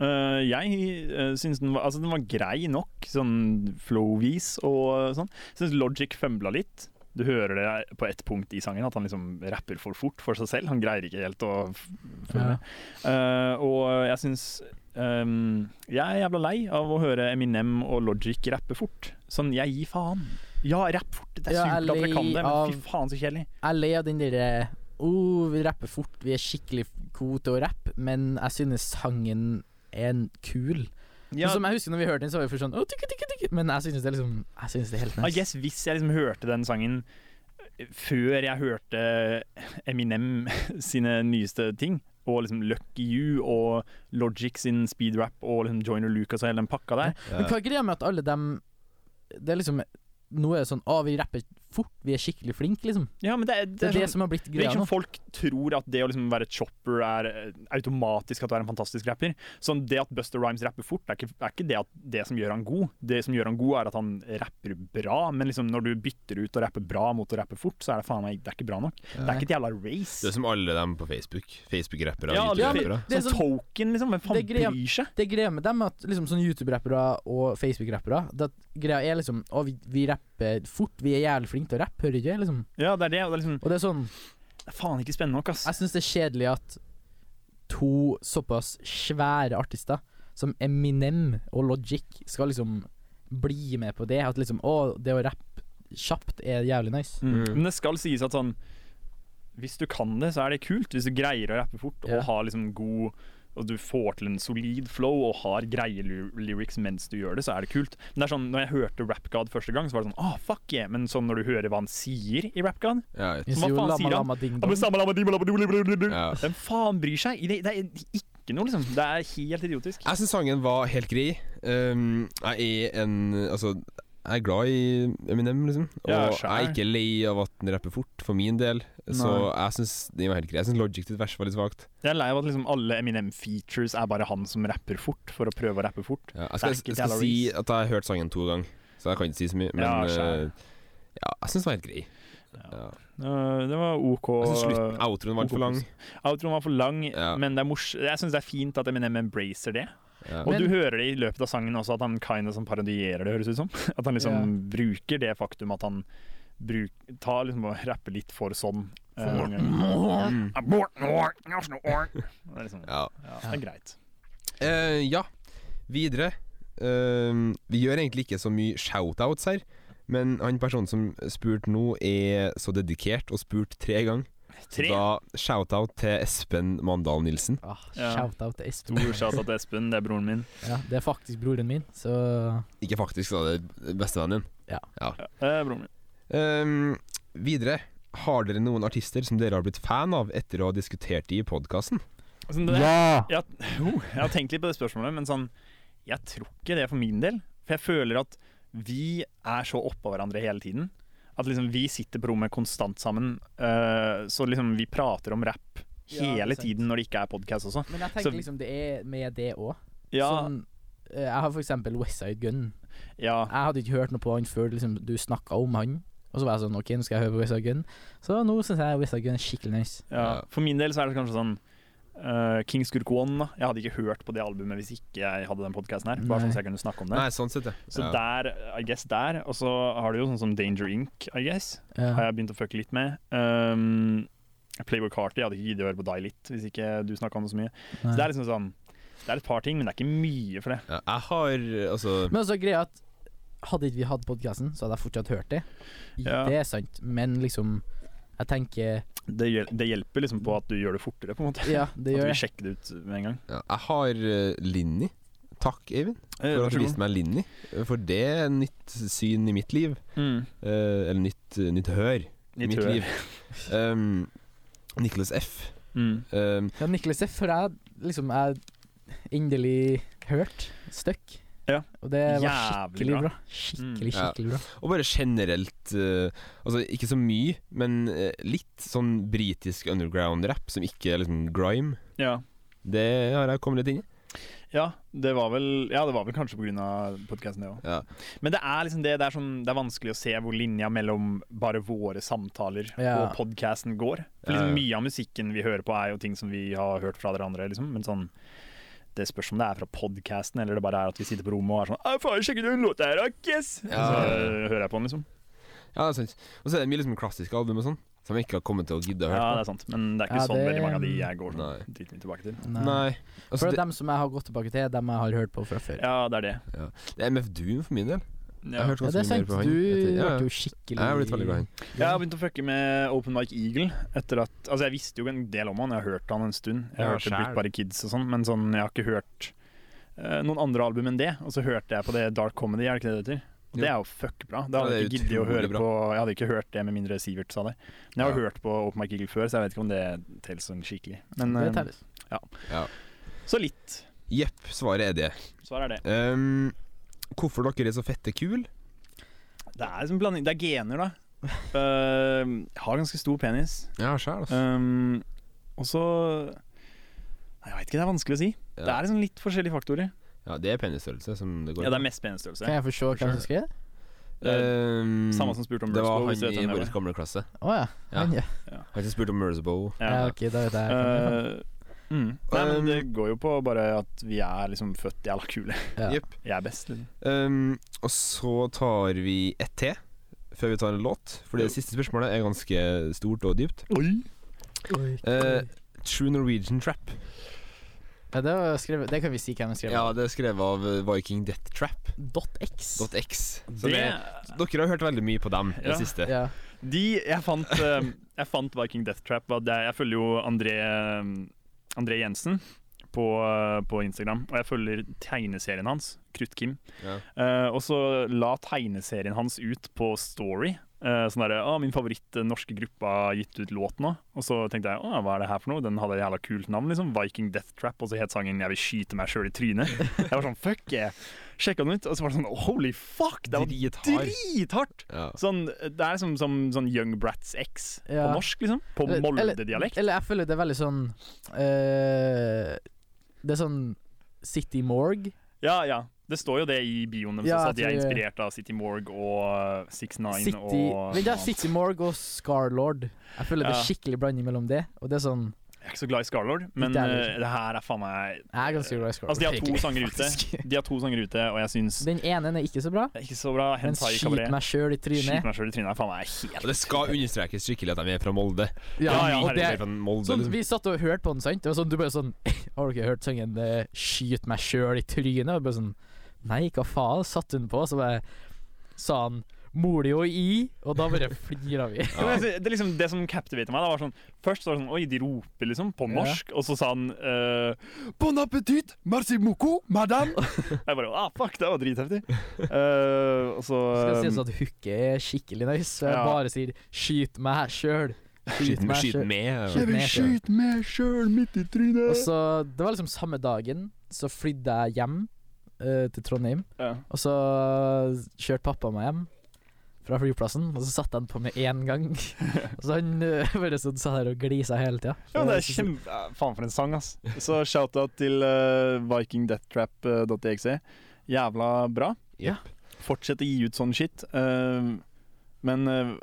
S3: Eh, jeg uh, syns den var, altså, den var grei nok, sånn flow-vis og sånn. Syns Logic fømbla litt. Du hører det på ett punkt i sangen, at han liksom rapper for fort for seg selv. Han greier ikke helt å f- følge med. Eh, og jeg syns Jeg er jævla lei av å høre Eminem og Logic rappe fort. Sånn, jeg gir faen. Ja, rapp fort. Det er
S2: Ja,
S3: supert at dere kan det, men
S2: av-
S3: fy faen så kjedelig.
S2: Jeg ler av den derre oh, vi rapper fort, vi er skikkelig gode til å rappe, men jeg synes sangen er en kul. Sånn
S3: Ja,
S2: Som jeg husker når vi hørte den, så var vi for sånn «Å, tykke, tykke, tykke», Men jeg synes det er liksom Jeg synes det er helt
S3: I
S2: nice.
S3: guess hvis jeg liksom hørte den sangen eh, før jeg hørte Eminem sine nyeste ting, og liksom Lucky You og Logic sin speedrap og liksom Joyner Lucas og hele den pakka der
S2: Men hva er greia med at alle dem Det er liksom Nå er det sånn Å, vi rapper fort, vi er skikkelig flinke, liksom.
S3: Ja, men det, er-
S2: Det er det
S3: sånn-
S2: som har blitt
S3: det er
S2: greia
S3: ikke
S2: nå.
S3: sånn folk tror at det å liksom være chopper er eh, automatisk at du er en fantastisk rapper. Sånn Det at Buster Rhymes rapper fort, er ikke, er ikke det, at det som gjør han god. Det som gjør han god, er at han rapper bra, men liksom når du bytter ut å rappe bra mot å rappe fort, så er det faen meg det er ikke bra nok. Det er ikke et jævla race.
S1: Det er som alle dem på Facebook. Facebook-rappere.
S3: Ja, alle
S1: YouTube-rappere.
S2: Det er
S3: Sånn
S2: sånn-
S3: token, liksom. Hvem
S2: Det
S3: faen
S2: er greia-
S3: bryr seg?
S2: Det greia med dem er at liksom sånn YouTube-rappere og Facebook-rappere det at Greia er liksom Å, vi, vi rapper fort, vi er jævlig flinke til å rappe, hører du ikke? Liksom.
S3: Ja, det er det. Og det er liksom
S2: Og det er sånn
S3: det er faen ikke spennende nok, ass.
S2: Jeg syns det er kjedelig at to såpass svære artister som Eminem og Logic skal liksom bli med på det. At liksom Å, det å rappe kjapt er jævlig nice.
S3: Mm.
S1: Mm.
S3: Men det skal sies at sånn Hvis du kan det, så er det kult. Hvis du greier å rappe fort
S2: Ja.
S3: og har liksom god og du får til en solid flow og har greie ly- lyrics mens du gjør det, så er det kult. Men det er sånn, når jeg hørte Rap God første gang, så var det sånn ah, fuck yeah. Men sånn når du hører hva han sier i Rap God
S1: Ja, jeg-
S2: Vi
S3: Hva
S2: sier jo
S3: faen
S2: lama,
S3: sier han?
S2: lama, ding,
S3: ah, men
S2: dong.
S3: samme lama di, bla, bla, bla, bla, bla, bla.
S1: Ja.
S3: Hvem faen bryr seg? Det, det er ikke noe, liksom. Det er helt idiotisk.
S1: Jeg syns sangen var helt grei. Um, jeg er en Altså, jeg er glad i Eminem, liksom. Og
S3: Ja,
S1: jeg
S3: skjønner.
S1: er ikke lei av at han rapper fort, for min del. Så jeg syns det var helt greit. Jeg syns Logic sitt vers var litt svakt.
S3: Jeg er lei av at liksom alle Eminem-features er bare han som rapper fort, for å prøve å rappe fort.
S1: Ja, jeg skal,
S3: Back it,
S1: jeg skal si
S3: Alaris.
S1: at jeg har hørt sangen to ganger, så jeg kan ikke si så mye. Men
S3: Ja, skjønner.
S1: eh, ja, jeg syns den var helt grei. Ja.
S3: Øh, det var OK.
S1: Jeg syns slutten,
S3: eh,
S1: outroen, var litt for lang.
S3: Outroen var for lang,
S1: Ja.
S3: men det er mors jeg syns det er fint at Eminem embracer det.
S1: Ja.
S3: Og
S2: Men-
S3: du hører det i løpet av sangen også, at han kinda som parodierer det, høres ut som. At han liksom bruker det faktum at han bruk, tar liksom og rapper litt for sånn. eh,
S1: Mm.
S3: abort, or, national or. Det er liksom,
S1: Ja.
S3: ja, det er greit.
S1: Eh, ja, videre. Ehm, vi gjør egentlig ikke så mye shoutouts her, men han personen som spurte nå, er så dedikert og spurt tre ganger. Så
S3: Tre.
S1: Da shoutout til Espen Mandal Nilsen.
S2: Ah,
S3: Ja.
S2: Shout-out til Espen.
S3: Stor shout-out til Espen, det er broren min.
S2: Ja, det er faktisk broren min, så
S1: Ikke faktisk, da, det er bestevennen din.
S3: Ja, det er Eh, broren min.
S1: Ehm, videre. Har dere noen artister som dere har blitt fan av etter å ha diskutert de i podkasten?
S3: Sånn, det,
S2: Ja!
S3: Jo, oh, jeg har tenkt litt på det spørsmålet, men sånn Jeg tror ikke det for min del. For jeg føler at vi er så oppå hverandre hele tiden. At liksom vi sitter på rommet konstant sammen. øh, så liksom vi prater om rap
S2: Ja, det er
S3: hele
S2: sant.
S3: tiden når det ikke er podkast også.
S2: Men jeg
S3: Så-
S2: tenker liksom det er med det òg.
S3: Ja,
S2: Sånn, eh, jeg har for eksempel Westside Gun.
S3: ja,
S2: Jeg hadde ikke hørt noe på han før liksom, du snakka om han. Og så var jeg sånn OK, nå skal jeg høre på Westside Gun. Så nå syns jeg Westside Gun er skikkelig nice.
S3: ja. For min del så er det kanskje sånn øh, King Skurk One, da. Jeg hadde ikke hørt på det albumet hvis ikke jeg hadde den podkasten her. Bare
S2: Nei.
S3: sånn så jeg kunne snakke om det.
S1: Nei, sånn sett, ja.
S3: Så
S1: ja.
S3: der, I guess der. Og så har du jo sånn som Danger Inc., I guess. har
S2: Ja.
S3: jeg begynt å fucke litt med. Um, Playboy Carty jeg hadde ikke giddet å høre på deg litt hvis ikke du snakka om det så mye. Så det er liksom sånn Det er et par ting, men det er ikke mye for det.
S1: ja. Jeg har altså
S2: Men også greia at hadde ikke vi hatt podkasten, så hadde jeg fortsatt hørt det.
S3: Ja.
S2: Det er sant, men liksom Jeg tenker
S3: Det, hjel- det hjelper liksom på at du gjør det fortere, på en måte.
S2: Ja, det
S3: at
S2: gjør jeg.
S3: du sjekker det ut med en gang.
S1: ja, Jeg har eh, Linni. Takk, Eivind.
S3: Eh,
S1: For
S3: vær
S1: at
S3: så
S1: du
S3: god.
S1: viste meg Linni. For det er nytt syn i mitt liv.
S3: Mm.
S1: Eh, eller nytt, nytt hør i
S3: Nytt
S1: mitt
S3: hør.
S1: liv. Um, Nicholas F.
S3: Mm.
S1: Um,
S2: Ja, Niklas F. har jeg liksom jeg endelig hørt. Stuck.
S3: Ja.
S2: Og det var
S3: Jævlig
S2: skikkelig
S3: bra.
S2: bra.
S1: Mm.
S2: Skikkelig,
S1: Ja.
S2: skikkelig bra.
S1: og bare generelt eh, Altså ikke så mye, men eh, litt sånn britisk underground-rap som ikke er liksom grime.
S3: Ja.
S1: Det har jeg kommet litt inn i.
S3: Ja, det var vel, ja, det var vel kanskje pga. podkasten, det òg.
S1: Ja.
S3: Men det er liksom det, det er, sånn, det er vanskelig å se hvor linja mellom bare våre samtaler
S2: Ja.
S3: og podkasten går.
S1: Ja,
S3: For
S1: ja.
S3: liksom, mye av musikken vi hører på, er jo ting som vi har hørt fra dere andre. Liksom. Men sånn, det spørs om det er fra podkasten, eller det bare er at vi sitter på rommet og er sånn «Ah, faen, sjekk ut den låta her, da, yes! Og
S1: Ja.
S3: Så øh, hører jeg på den, liksom.
S1: Ja, det er sant. Og så er det mye liksom klassiske album og sånn, som jeg ikke har kommet til å gidde å
S3: Ja, det
S1: høre på.
S3: er sant. Men det er ikke
S2: Ja,
S3: sånn
S2: det-
S3: veldig mange av de jeg går
S1: Nei.
S3: sånn dritmye tilbake til.
S2: Nei.
S1: Nei.
S2: For
S1: Altså, det,
S2: dem som jeg har gått tilbake til, er dem jeg har hørt på fra før.
S3: Ja, det er det.
S1: det er MF Doom for min del. Jeg
S3: Ja.
S1: har hørt
S2: Ja, det
S1: ganske mye mer
S2: er sant.
S1: på han.
S2: Du
S1: etter- ja, ja.
S2: ble jo
S1: Jeg
S2: skikkelig
S1: har blitt veldig glad i han.
S3: Jeg har begynt å fucke med Open Mike Eagle. Etter at, altså jeg visste jo en del om han, jeg har hørt han en stund. Jeg
S1: Ja,
S3: har hørt
S1: skjær.
S3: Britt Bare Kids og sånn, men sånn, jeg har ikke hørt eh, noen andre album enn det. Og så hørte jeg på det Dark Comedy, er det ikke det det heter? Og
S1: Jo.
S3: Det er jo fuck bra. Det hadde
S1: Ja,
S3: jeg
S1: det er
S3: ikke giddet å
S1: utrolig
S3: høre
S1: bra.
S3: på Jeg hadde ikke hørt det med mindre Sivert sa det. Men jeg har
S1: Ja.
S3: hørt på Open Mike Eagle før, så jeg vet ikke om det telles sånn skikkelig. Men
S2: Det
S3: eh,
S2: telles.
S3: så litt.
S1: Jepp, svaret er det.
S3: Svar er det.
S1: Um, hvorfor dere er så fette kul?
S3: Det er liksom blanding Det er gener, da. Eh, har ganske stor penis.
S1: Ja, sjæl,
S3: Um, og så Nei, Jeg veit ikke, det er vanskelig å si.
S1: Ja.
S3: Det er liksom litt forskjellige faktorer.
S1: Ja, det er penisstørrelse som det går
S3: Ja, det er mest penisstørrelse.
S2: Kan jeg få se hvem som skrev det?
S1: Ehm,
S3: Samme som spurte om
S1: Det var
S3: Mursbo, hvis du
S1: han
S3: vet
S1: i
S3: hvem det
S1: vår
S3: var.
S1: gamle klasse.
S2: Å ja. Han, ja.
S1: Han som spurte om Mursbo.
S3: Ja.
S2: ja. Ok, da vet jeg.
S3: Eh, mm. Nei, men
S1: Um,
S3: det går jo på bare at vi er liksom født jævla kule.
S2: Ja.
S1: Jepp.
S3: Jeg er best, liksom.
S1: Ehm, og så tar vi ett til før vi tar en låt, for det siste spørsmålet er ganske stort og dypt. Eh, True Norwegian Trap.
S2: ja, det, var skrevet, det kan vi si hvem som skrev.
S1: Ja, det er skrevet av eh, Viking Death Trap.
S2: Dot X.
S1: X. Så
S3: Det,
S1: det, dere har hørt veldig mye på dem i
S3: Ja.
S1: det siste.
S2: Ja.
S3: de Jeg fant eh, Jeg fant Viking Death Trap. var det- Jeg følger jo André eh, André Jensen på, eh, på Instagram, og jeg følger tegneserien hans, Krutt-Kim.
S1: Ja.
S3: Eh, og så la tegneserien hans ut på Story, Eh, sånn der, «Å, Min favoritt eh, norske gruppe har gitt ut låt nå. Og så tenkte jeg «Å, hva er det her for noe? Den hadde et jævla kult navn. liksom Viking Death Trap. Og så het sangen 'Jeg vil skyte meg sjøl i trynet'. Jeg var sånn fuck yeah. Sjekka den ut, og så var det sånn holy fuck! Det var
S1: Drithard.
S3: drithardt!
S1: Ja.
S3: Sånn, det er som, som sånn Young Brats X på
S2: Ja.
S3: norsk, liksom. På
S2: Eller-
S3: Molde-dialekt.
S2: Eller, eller jeg føler det er veldig sånn eh, Det er sånn City Morgue.
S3: Ja, ja. Det står jo det i bioen deres
S2: Ja, jeg
S3: også, at de er
S2: tror-
S3: inspirert av City Morgue og 69
S2: City,
S3: og
S2: vent, ja, City Morgue og Scarlord. Jeg føler det
S3: Ja.
S2: er skikkelig blanding mellom det. Og det er sånn
S3: Jeg er ikke så glad i Scarlord, men
S2: Ikke jeg heller.
S3: eh, det her er faen meg
S2: Jeg er ganske glad i Scarlord.
S3: Altså, de har to
S2: egentlig,
S3: sanger
S2: faktisk.
S3: ute, de har to sanger ute og jeg syns
S2: Den ene er ikke så bra,
S3: det er ikke så bra.
S2: men
S3: Hentai
S2: skit
S3: Cabaret.
S2: meg sjøl i
S3: Skyt
S2: trynet.
S3: meg sjøl i trynet er faen meg helt
S1: Og det skal understrekes skikkelig at de er fra Molde.
S3: Ja, ja,
S2: og det,
S1: De er fra Molde
S2: sånn,
S1: liksom.
S2: vi satt og hørte på den, sant? Det var sånn, du bare sånn Har dere hørt sangen eh, 'Skyt meg sjøl i trynet'? Og bare sånn Nei, hva faen? Satte hun på, så bare sa han 'mor di og i', og da bare flira vi.
S3: Ja, men altså, det, er liksom det som captivated meg, da, var sånn Først så var det sånn Oi, de roper liksom på
S2: Ja.
S3: norsk, og så sa han eh,
S1: Bon appétit, merci beaucoup, madame.
S3: Jeg bare ah, fuck, det var dritheftig. Eh, og så
S2: Skal sånn, sies at hooket er skikkelig nice, så jeg
S3: Um, Ja.
S2: bare sier 'skyt meg sjøl'.
S1: Skyt med. Skyt
S2: sjøl».
S3: eh,
S1: med.
S2: Skyt meg sjøl.
S3: meg sjøl midt i trynet.
S2: Og så, det var liksom samme dagen, så flydde jeg hjem eh, til Trondheim.
S3: Ja.
S2: Og så eh, kjørte pappa meg hjem fra flyplassen, og så satte han på med én gang. og så han eh, bare sånn satt der og glisa hele tida.
S3: Ja, men det er kjempe... ja, Faen for en sang, ass. Så shout-out til uh, eh, vikingdeathtrap.exe. E Jævla bra.
S2: Ja.
S3: Fortsett å gi ut sånn shit. Eh, men eh,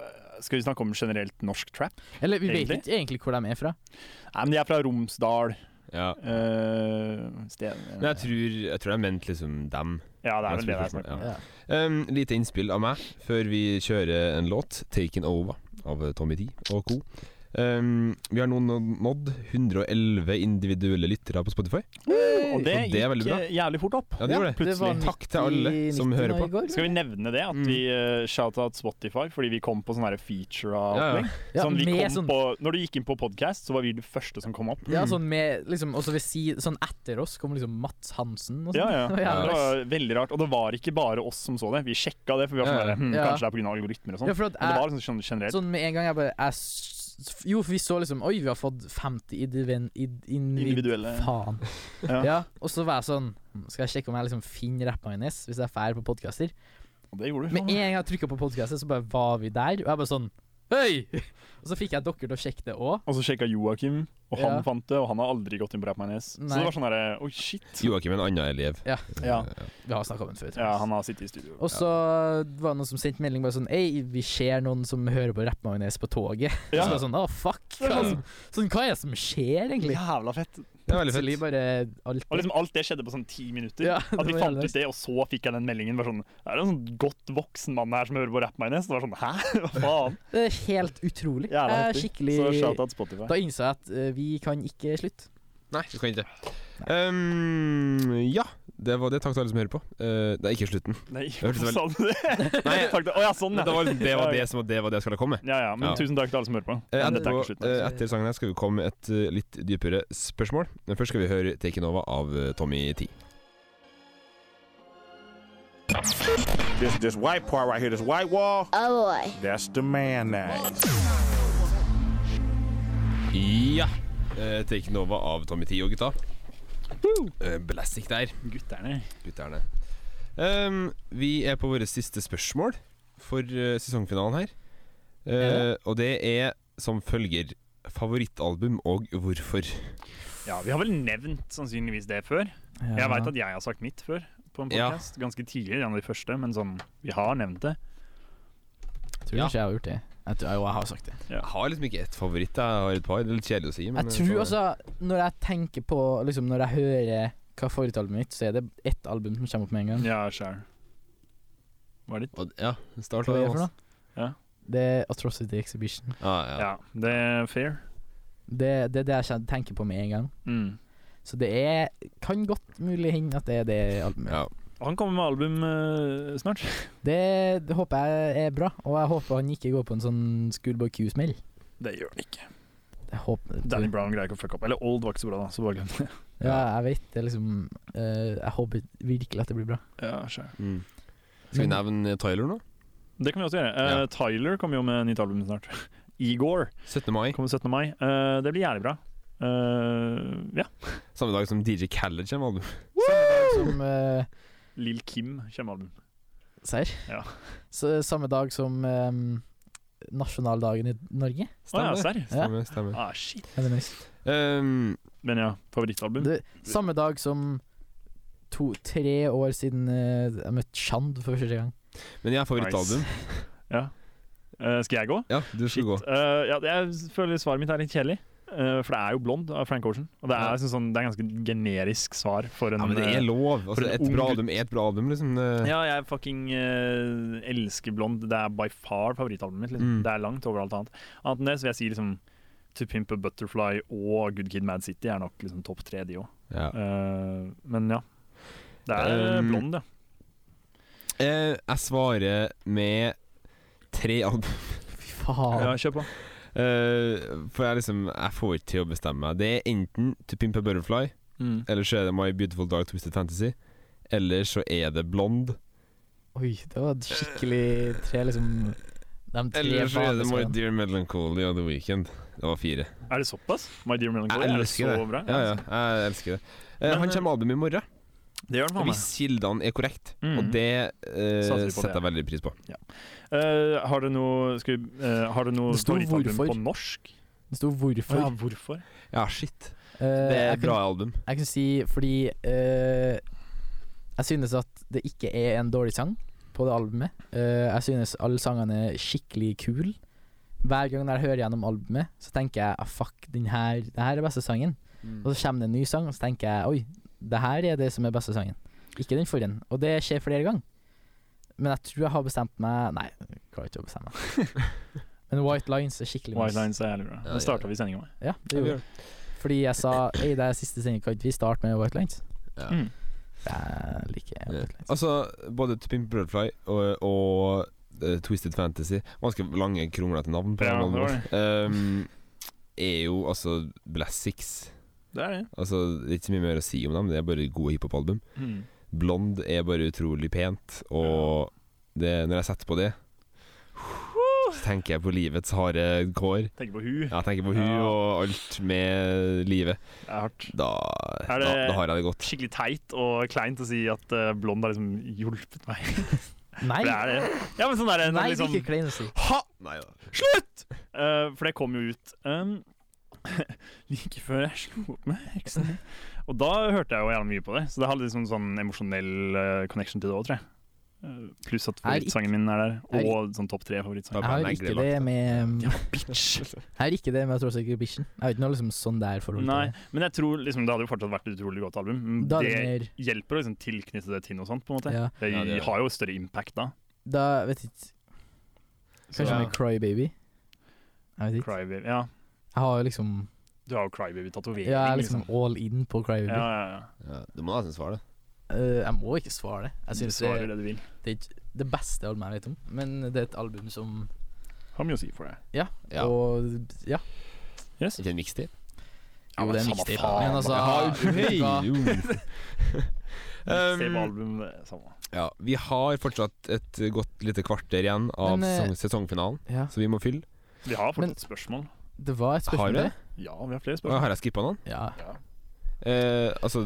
S3: skal vi snakke om generelt norsk trap?
S2: Eller vi vet
S3: Egentlig?
S2: ikke egentlig hvor de er fra.
S3: Nei, men de er fra Romsdal.
S1: Ja.
S3: eh, sted.
S1: Men jeg tror, jeg tror jeg mente liksom dem.
S3: Ja, det
S1: Jeg
S3: er vel det det er.
S1: tror
S3: snakk om.
S1: Ja. Um, lite innspill av meg før vi kjører en låt, 'Taken Over', av Tommy T og co. Um, vi har nå nå- nådd 111 individuelle lyttere på Spotify.
S3: Og
S1: Så
S3: det
S1: det er
S3: gikk
S1: veldig bra.
S3: eh, jævlig fort opp.
S1: Ja, det gjorde det.
S2: Det var
S3: Plutselig.
S1: Takk til alle
S2: 90
S1: som
S2: nå
S1: hører
S2: i
S1: på.
S2: går.
S3: Skal vi nevne det, at
S1: Mm.
S3: vi uh, shout-out Spotify fordi vi kom på sånn her feature av
S1: Ja, ja.
S2: Ja,
S3: sånn, vi
S2: med
S3: kom
S2: sånn-
S3: på, Når du gikk inn på podcast, så var vi det første som kom opp.
S2: Ja, sånn med liksom Og så ved si, sånn etter oss kom liksom Mats Hansen og sånn.
S3: Ja, ja.
S2: Det var jævlig
S3: Det
S2: nice.
S3: var veldig rart. Og det var ikke bare oss som så det. Vi sjekka det, for vi var sånn
S1: Ja, ja.
S3: der, hm,
S2: Ja.
S3: kanskje det er pga. algoritmer og sånn.
S2: Ja, for at
S3: Men det
S2: jeg-
S3: var liksom sånn generelt.
S2: Sånn med en gang jeg bare jeg, s- Jo, for vi så liksom Oi, vi har fått 50 indiven, id, individ,
S3: Individuelle.
S2: Faen.
S3: Ja.
S2: Ja. og så var jeg sånn Skal jeg sjekke om jeg liksom finner rappen hennes, hvis jeg drar på podkaster?
S3: Og det gjorde du.
S2: Med en gang jeg trykka på podkaster, så bare var vi der, og jeg bare sånn Hei! Og så fikk jeg dere til å sjekke det òg.
S3: Og så sjekka Joakim, og han
S2: Ja.
S3: fant det, og han har aldri gått inn på Rapmanes. Så
S2: Nei.
S3: det var sånn derre Oi, shit.
S1: Joakim er en annen elev.
S2: Ja.
S3: Ja.
S2: Vi har snakka om den før. tror jeg.
S3: ja, han har sittet i studio.
S2: Og så var det noen som sendte melding bare sånn Ei, vi ser noen som hører på Rappmagnes på toget.
S3: Ja.
S2: Så bare sånn, å fuck. Hva, er det som- sånn, hva er det som skjer, egentlig?
S3: Jævla fett.
S1: Det er veldig
S2: Plutselig
S1: fett.
S2: bare alt
S3: Og liksom Alt det skjedde på sånn ti minutter.
S2: Ja, det
S3: at vi
S2: var
S3: fant
S2: jævlig
S3: ut det, og så fikk jeg den meldingen. Bare sånn, er det en sånn godt voksen mann her som hører på Rapmanes? Det var sånn, hæ? Hva faen?
S2: Det er helt utrolig.
S3: Jævla
S2: Jeg er
S3: heftig.
S2: skikkelig
S3: Så shout-out Spotify.
S2: Da innså jeg at eh, vi kan ikke slutte.
S1: Nei, du kan ikke. Um, ja, det var det. Takk til alle som hører på. Eh, det er ikke slutten.
S3: Nei,
S1: hørtes
S3: hva sa du det?
S1: Nei,
S3: Takk, det- Å ja, sånn,
S1: Men det
S3: ja.
S1: var, det, var det, som, det var det jeg skulle komme med.
S3: Ja, ja. Men
S1: Ja.
S3: tusen takk til alle som hører på.
S1: Eh,
S3: Men dette er
S1: Etterpå,
S3: ikke slutten.
S1: eh, etter sangen her skal vi komme med et eh, litt dypere spørsmål. Men først skal vi høre 'Taken Over' av eh, Tommy T.
S4: This this white part right here, this white wall,
S5: Oh boy.
S4: that's the man name.
S1: Ja. Eh, 'Taken Over' av Tommy T og gutta. Eh, Blastic der,
S3: Gutterne.
S1: gutterne. Um, vi er på våre siste spørsmål for eh, sesongfinalen her. Eh, og det er som følger favorittalbum og hvorfor.
S3: Ja, vi har vel nevnt sannsynligvis det før. Jeg veit at jeg har sagt mitt før på en
S1: Ja.
S3: podkast. Ganske tidlig, en av de første, men sånn Vi har nevnt det.
S2: tror
S1: Ja.
S2: kanskje jeg har gjort det. Jeg tror, jo, jeg har sagt det.
S1: Jeg har liksom ikke ett favoritt, jeg har et par. Det er litt kjedelig å si. Men eh,
S2: Jeg tror også, når jeg tenker på Liksom, når jeg hører hva favorittalbumet mitt, så er det ett album som kommer opp med en gang.
S3: Ja, sure. Hva er ditt?
S1: Og- Ja, start
S2: Hva er det for
S1: altså.
S2: noe?
S3: Ja.
S2: Det er Atrocity Exhibition.
S1: Ja, ja.
S3: Ja, det er fair.
S2: Det det er det, jeg kjen- tenker på med en gang.
S3: Mm.
S2: Så det er kan godt mulig hende at det er det albumet.
S1: Ja.
S3: Og Han kommer med album eh, snart.
S2: Det, det håper jeg er bra, og jeg håper han ikke går på en sånn Schoolboy Q-smell.
S3: Det gjør han ikke.
S2: Jeg håper
S3: Danny Brown greier ikke å fucke opp. Eller Old var ikke så bra, da. Så bare glem det.
S2: Ja, jeg vet det, er liksom eh, Jeg håper virkelig at det blir bra.
S1: Mm.
S3: Ja, sure.
S1: Skal vi nevne eh, Tyler nå?
S3: Det kan vi også gjøre. Eh,
S1: Ja.
S3: Tyler kommer jo med nytt album snart. Igor
S1: 17. mai,
S3: kommer 17. mai. Eh, det blir jævlig bra. Eh, ja.
S1: samme dag som DJ Khaled kommer med album.
S2: Som eh,
S3: Lill Kim kommer med album.
S2: Serr?
S3: Ja.
S2: Så, samme dag som ehm, nasjonaldagen i Norge?
S3: Å ja,
S1: Stemmer.
S3: serr?
S1: Stemmer, stemmer.
S3: Ah, shit.
S2: Er det nice?
S1: Um,
S3: Men ja, favorittalbum?
S2: Det, samme dag som to, tre år siden eh, jeg møtte Chand for første gang.
S1: men jeg har favorittalbum.
S3: Ja. Eh, skal jeg gå?
S1: Ja, du skal gå.
S3: Eh, ja, jeg føler svaret mitt er litt kjedelig. Eh, for det er jo blond av Frank Ocean. Og det er,
S1: Ja.
S3: sånn, sånn, det er ganske generisk svar for en
S1: Ja, men det
S3: eh,
S1: er lov.
S3: for
S1: Altså,
S3: en
S1: et
S3: ung
S1: bra
S3: gutt.
S1: album er et bra album, liksom. Det,
S3: Ja, jeg fucking eh, elsker Blond. Det er by far favorittalbumet mitt. Liksom.
S1: Mm.
S3: Det er langt over alt annet. Annet enn det så vil jeg si liksom To Pimp a Butterfly og Good Kid Mad City er nok liksom topp tre, de òg.
S1: ja.
S3: men ja. Det er eh,
S1: Um,
S3: Blond, ja.
S1: Eh, jeg svarer med tre album.
S2: Fy
S1: ah.
S2: faen.
S3: ja. Kjør på.
S1: Eh, for jeg liksom Jeg får ikke til å bestemme meg. Det er enten To Pimp a Butterfly,
S3: Mm.
S1: eller så er det My Beautiful Dark Twisted Fantasy. Eller så er det Blond.
S2: Oi, det var et skikkelig tre, liksom De tre
S1: Eller så er det My
S2: vaneskene.
S1: Dear Melancholy og The Weekend. Det var fire.
S3: Er det såpass? My Dear Melancholy
S1: Jeg
S3: er det
S1: elsker
S3: så
S1: det.
S3: bra.
S1: Ja, ja, jeg elsker det. Eh,
S3: Men,
S1: han
S3: eh,
S1: kommer med album i morgen,
S3: Det gjør den faen meg.
S1: hvis kildene er korrekte.
S3: Mm.
S1: Og det eh,
S3: Satser vi på det.
S1: setter jeg veldig pris på.
S3: Eh, har du noe Skal vi eh, Har du noe
S2: Det sto
S3: favorittalbum
S2: hvorfor.
S3: på norsk?
S2: Det sto hvorfor.
S3: Ja, hvorfor?
S1: Ja, shit.
S2: Eh,
S1: Det er
S2: jeg
S1: et
S2: kan-
S1: bra album.
S2: Jeg kan si fordi eh, Jeg synes at det ikke er en dårlig sang på det albumet. Eh, jeg synes alle sangene er skikkelig kule. Hver gang jeg hører gjennom albumet, så tenker jeg ah, fuck, den her, det her er beste sangen. Og så kommer det en ny sang, og så tenker jeg oi, det her er det som er beste sangen. Ikke den forrige. Og det skjer flere ganger. Men jeg tror jeg har bestemt meg Nei, jeg klarer ikke å bestemme meg. Men White Lines er skikkelig
S3: White
S2: nice.
S3: Lines er jævlig bra.
S1: Ja,
S3: Det starta vi sendinga med.
S2: Ja, det gjorde jeg. Fordi jeg sa Ei, det er siste sending, kan ikke vi starte med White Lines?
S1: Ja.
S3: Mm.
S2: Jeg liker
S1: Ja.
S2: White Lines.
S1: Altså, både To Pimp Butterfly og, og eh, Twisted Fantasy Ganske lange, kronglete navn på
S3: Ja,
S1: den
S3: det var
S1: albumen. Ehm, er jo altså Blast Six.
S3: Det er det.
S1: Altså, det er ikke så mye mer å si om dem, det er bare gode hiphop-album.
S3: Mm.
S1: Blond er bare utrolig pent, og det, når jeg setter på det så tenker jeg på livets harde kår.
S3: Tenker på hun.
S1: Jeg tenker på hun
S3: Ja.
S1: og alt med livet.
S3: Det er hardt.
S1: Da,
S3: Er det-
S1: da, da har jeg det godt.
S3: Skikkelig teit og kleint å si at eh, blond har liksom hjulpet meg.
S2: Nei,
S3: For det er det. Ja, men sånn er det. når
S2: nei det er
S3: liksom,
S2: ikke klein å si.
S1: Ha! Nei da.
S3: Eh, for det kom jo ut um, like før jeg slo opp med heksen. Og da hørte jeg jo jævlig mye på det, så det hadde liksom sånn emosjonell eh, connection til det òg, tror jeg. Eh, pluss at
S2: Er ikke-
S3: favorittsangen min er der,
S2: er ikke-
S3: og sånn topp tre favorittsang.
S1: Ja,
S2: Jeg har
S1: men jeg
S2: ikke
S1: gleder meg.
S2: det med
S1: Ah,
S2: Jeg
S3: Bitch!
S2: har ikke det med at Rosa ikke er Bitchen. Jeg har ikke noe liksom sånn der forhold til
S3: Nei,
S2: det.
S3: men jeg tror liksom det hadde jo fortsatt vært et utrolig godt album. men
S2: Da er
S3: det
S2: det mer
S3: hjelper å liksom tilknytte det til noe sånt, på en måte.
S2: ja,
S3: Det,
S1: Ja, det gjør det.
S3: har jo større impact da.
S2: Da vet jeg ikke Kanskje
S1: Ja.
S2: med Crybaby? Jeg vet ikke.
S3: Crybaby. Ja,
S2: Jeg har liksom
S3: du har jo Crybaby-tatovering.
S2: Jeg er liksom all in på Crybaby.
S3: Ja, ja, ja.
S1: Ja, du må nesten svare det.
S2: Eh, jeg må ikke svare det. Jeg
S3: Du
S2: synes det,
S3: svarer det du vil.
S2: det er ikke det beste albumet jeg vet om, men det er et album som
S3: Har mye å si for det. Um,
S1: Ja.
S2: Og ja.
S3: Yes.
S1: Ikke en mixtape.
S3: Ja,
S2: Jo,
S3: men
S2: det er en
S3: samme
S2: mixtape.
S3: faen.
S2: Men altså
S1: Hei,
S2: hva-
S1: jo. um,
S3: Same album, det er eh, samme.
S1: ja, vi har fortsatt et godt lite kvarter igjen av
S2: Men, eh,
S1: sesong- sesongfinalen,
S2: ja.
S1: så vi må fylle.
S3: Vi har
S2: Men-
S3: fortsatt spørsmål.
S2: Det var et
S1: Har
S2: spørsmål
S1: vi
S2: til.
S1: det?
S3: Ja, vi har flere
S1: Å,
S3: spørsmål.
S1: Har jeg skippa noen?
S2: Ja.
S1: Eh, altså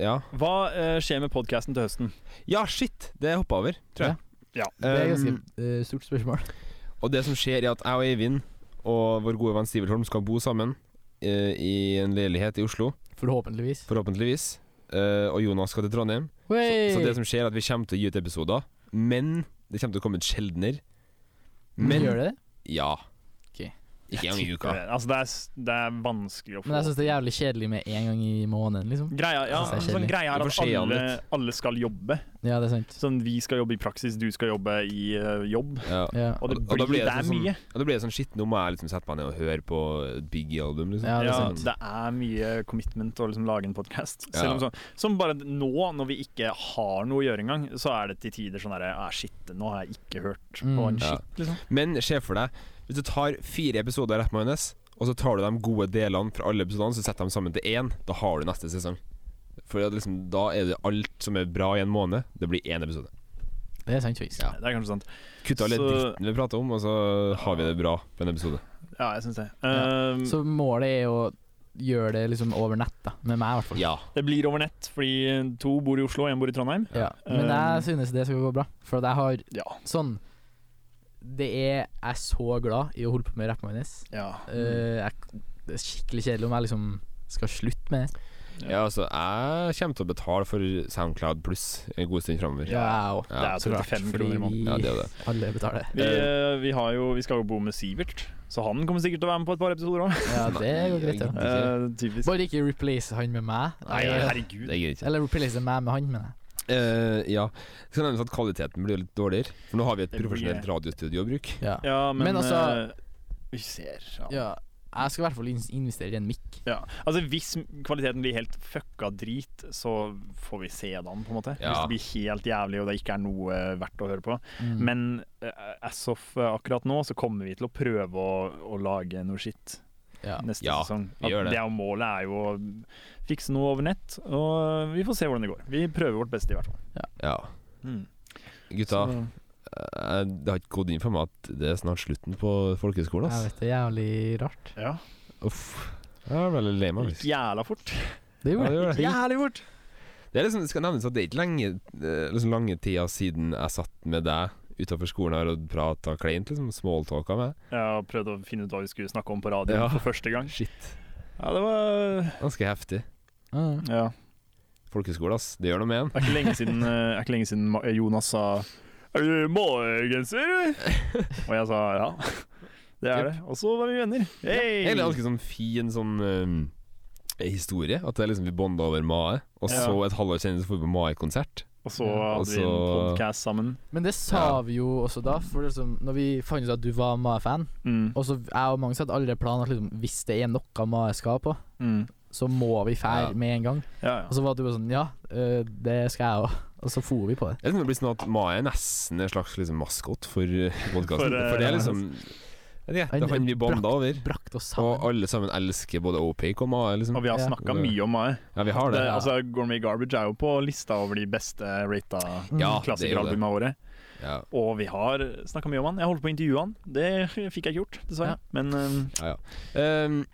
S1: ja.
S3: Hva eh, skjer med podkasten til høsten?
S1: ja, shit! Det hoppa over, tror jeg.
S3: Ja.
S2: Det er et ganske
S1: Um,
S2: eh, stort spørsmål.
S1: og det som skjer, er at jeg og Eivind og vår gode venn Sivert Holm skal bo sammen eh, i en leilighet i Oslo,
S2: Forhåpentligvis.
S1: forhåpentligvis. Eh, og Jonas skal til Trondheim. Så, så det som skjer er at vi kommer til å gi ut episoder, men det kommer til å komme ut sjeldnere.
S3: Mm.
S1: Men
S2: Gjør det det?
S1: ja.
S2: Ok.
S1: Ikke en gang i uka.
S3: Altså, det er, s- det er vanskelig å få
S2: Men jeg syns det er jævlig kjedelig med én gang i måneden, liksom.
S3: Greia, ja,
S2: Jeg synes det er
S3: sånn
S2: kjedelig.
S3: greia er
S1: Du får
S3: at
S1: se han
S3: alle,
S1: litt.
S3: alle skal jobbe.
S2: Ja, det er sant.
S3: Sånn, vi skal jobbe i praksis, du skal jobbe i eh, jobb.
S1: Ja.
S2: Ja,
S3: Og det
S1: Og- og
S3: blir,
S1: da blir det
S3: det er
S1: sånn-
S3: mye.
S1: Og da blir det sånn shit, nå må jeg liksom sette meg ned og høre på et Biggie-album, liksom.
S2: Ja, det er
S3: Ja,
S2: sant.
S3: det er mye commitment å liksom lage en podkast.
S1: Ja.
S3: Sånn, som bare nå, når vi ikke har noe å gjøre engang, så er det til tider sånn derre ah, Shit, nå har jeg ikke hørt på
S2: Mm.
S3: en
S1: Ja.
S3: shit, liksom.
S1: Men se for deg, hvis du tar fire episoder rett majones, og så tar du de gode delene fra alle episodene, så setter de sammen til én, da har du neste sesong. For at liksom, da er det alt som er bra i en måned, det blir én episode.
S2: Det er sant, faktisk.
S3: Det er kanskje sant.
S1: Kutta litt
S3: Så-
S1: dritten vi prater om, og så har vi det bra på en episode.
S3: Ja, jeg syns det.
S2: Ja.
S3: Ehm,
S2: Så målet er å gjøre det liksom over nett, da. Med meg, i hvert fall.
S1: Ja.
S3: det blir over nett, fordi to bor i Oslo, én bor i Trondheim.
S2: Ja. Men jeg synes det skal gå bra, for at jeg har
S3: Ja.
S2: sånn Det er Jeg er så glad i å holde på med rappen min.
S3: ja.
S2: Eh, jeg, det er skikkelig kjedelig om jeg liksom skal slutte med det.
S1: ja, altså, jeg kommer til å betale for Soundcloud pluss en god stund framover.
S2: Ja, jeg òg.
S1: Ja,
S3: det er 35 kroner i måneden.
S1: Ja, det er det.
S2: alle betaler.
S3: Vi, eh, vi, har jo, vi skal jo bo med Sivert, så han kommer sikkert til å være med på et par episoder òg.
S2: Ja, det går greit, ja.
S3: typisk.
S2: Bare ikke replace han med meg.
S3: Nei, herregud.
S1: Det gidder jeg ikke.
S2: Eller replace meg med han, mener jeg.
S1: Eh, ja. Det skal nevnes at kvaliteten blir litt dårligere, for nå har vi et
S3: Det blir-
S1: profesjonelt radiostudio å bruke.
S2: Ja. Ja.
S3: Ja, men,
S2: Men altså-
S3: eh, Vi ser. Ja.
S2: Jeg skal i hvert fall in- investere i en mic.
S3: Ja. Altså, hvis kvaliteten blir helt fucka drit, så får vi se den, på en måte.
S1: Ja.
S3: Hvis det blir helt jævlig og det ikke er noe eh, verdt å høre på.
S2: Mm.
S3: Men eh, as of eh, akkurat nå, så kommer vi til å prøve å, å lage noe shit
S2: ja.
S3: neste
S1: Ja,
S3: sesong.
S1: vi gjør det.
S3: er jo målet er jo å fikse noe over nett, og vi får se hvordan det går. Vi prøver vårt beste, i hvert fall.
S1: Ja.
S3: Mm.
S1: Gutta,
S3: Så-
S1: eh, det har ikke gått inn for meg at det er snart slutten på folkehøyskolen.
S2: Jeg
S1: ass.
S2: vet det, jævlig rart.
S3: Ja.
S1: Uff. Jeg er veldig lei meg.
S3: Det
S1: faktisk.
S3: gikk jævla fort.
S2: Det
S1: Ja, det gjør det.
S3: Jævlig fort!
S1: Det er liksom, det skal nevnes at det er ikke lenge, eh, liksom lange tida siden jeg satt med deg utafor skolen her og prata kleint, liksom. Smalltalka med deg.
S3: Jeg prøvde å finne ut hva vi skulle snakke om på radio
S1: Ja.
S3: for første gang.
S1: Shit.
S3: Ja, det var
S1: Ganske heftig.
S2: Mm.
S3: Ja.
S1: Folkehøyskole, ass. Det gjør noe med en.
S3: Det er ikke lenge siden, eh, er ikke lenge siden Ma- Jonas sa Er du magegenser, eller? Og jeg sa ja. Det er det. Og så var vi venner. Hey!
S1: Egentlig ganske sånn fin sånn eh, historie. At det er liksom vi bonda over Mae, og
S3: Ja.
S1: så et halvår senere så får vi på Mae-konsert.
S3: Og så hadde vi en
S1: Og så-
S3: podcast sammen.
S2: Men det sa
S1: Ja.
S2: vi jo også da, for liksom, når vi fant ut at du var MAE-fan
S3: Mm.
S2: Og så jeg og Magnus hadde aldri planen at liksom, hvis det er noe MAE skal på,
S3: Mm.
S2: så må vi fære
S1: Ja.
S2: med en gang.
S3: Ja,
S2: Og
S3: ja.
S2: så var du bare sånn Ja, øh, det skal jeg òg. Og så for vi på det.
S1: Jeg tror det blir sånn at Mae er nesten en slags liksom, maskot for podkasten.
S3: For,
S1: For,
S3: eh,
S1: det er liksom Jeg vet ikke, det er han vi bonda over.
S2: Brakt oss
S1: Og
S2: sammen.
S1: alle sammen elsker både Opaque og Mae, liksom.
S3: Og vi har
S2: Ja.
S3: snakka mye om Mai.
S1: Ja, vi har
S3: Det,
S1: det.
S2: ja.
S3: altså, Gourmet Garbage er jo på lista over de beste rata
S1: Mm. Ja, det er jo det.
S3: klassikeralbumene våre.
S1: Ja,
S3: Og vi har snakka mye om han. Jeg holdt på å intervjue han. Det fikk jeg ikke gjort, dessverre.
S2: Ja.
S3: Men eh,
S1: ja. ja. Ehm,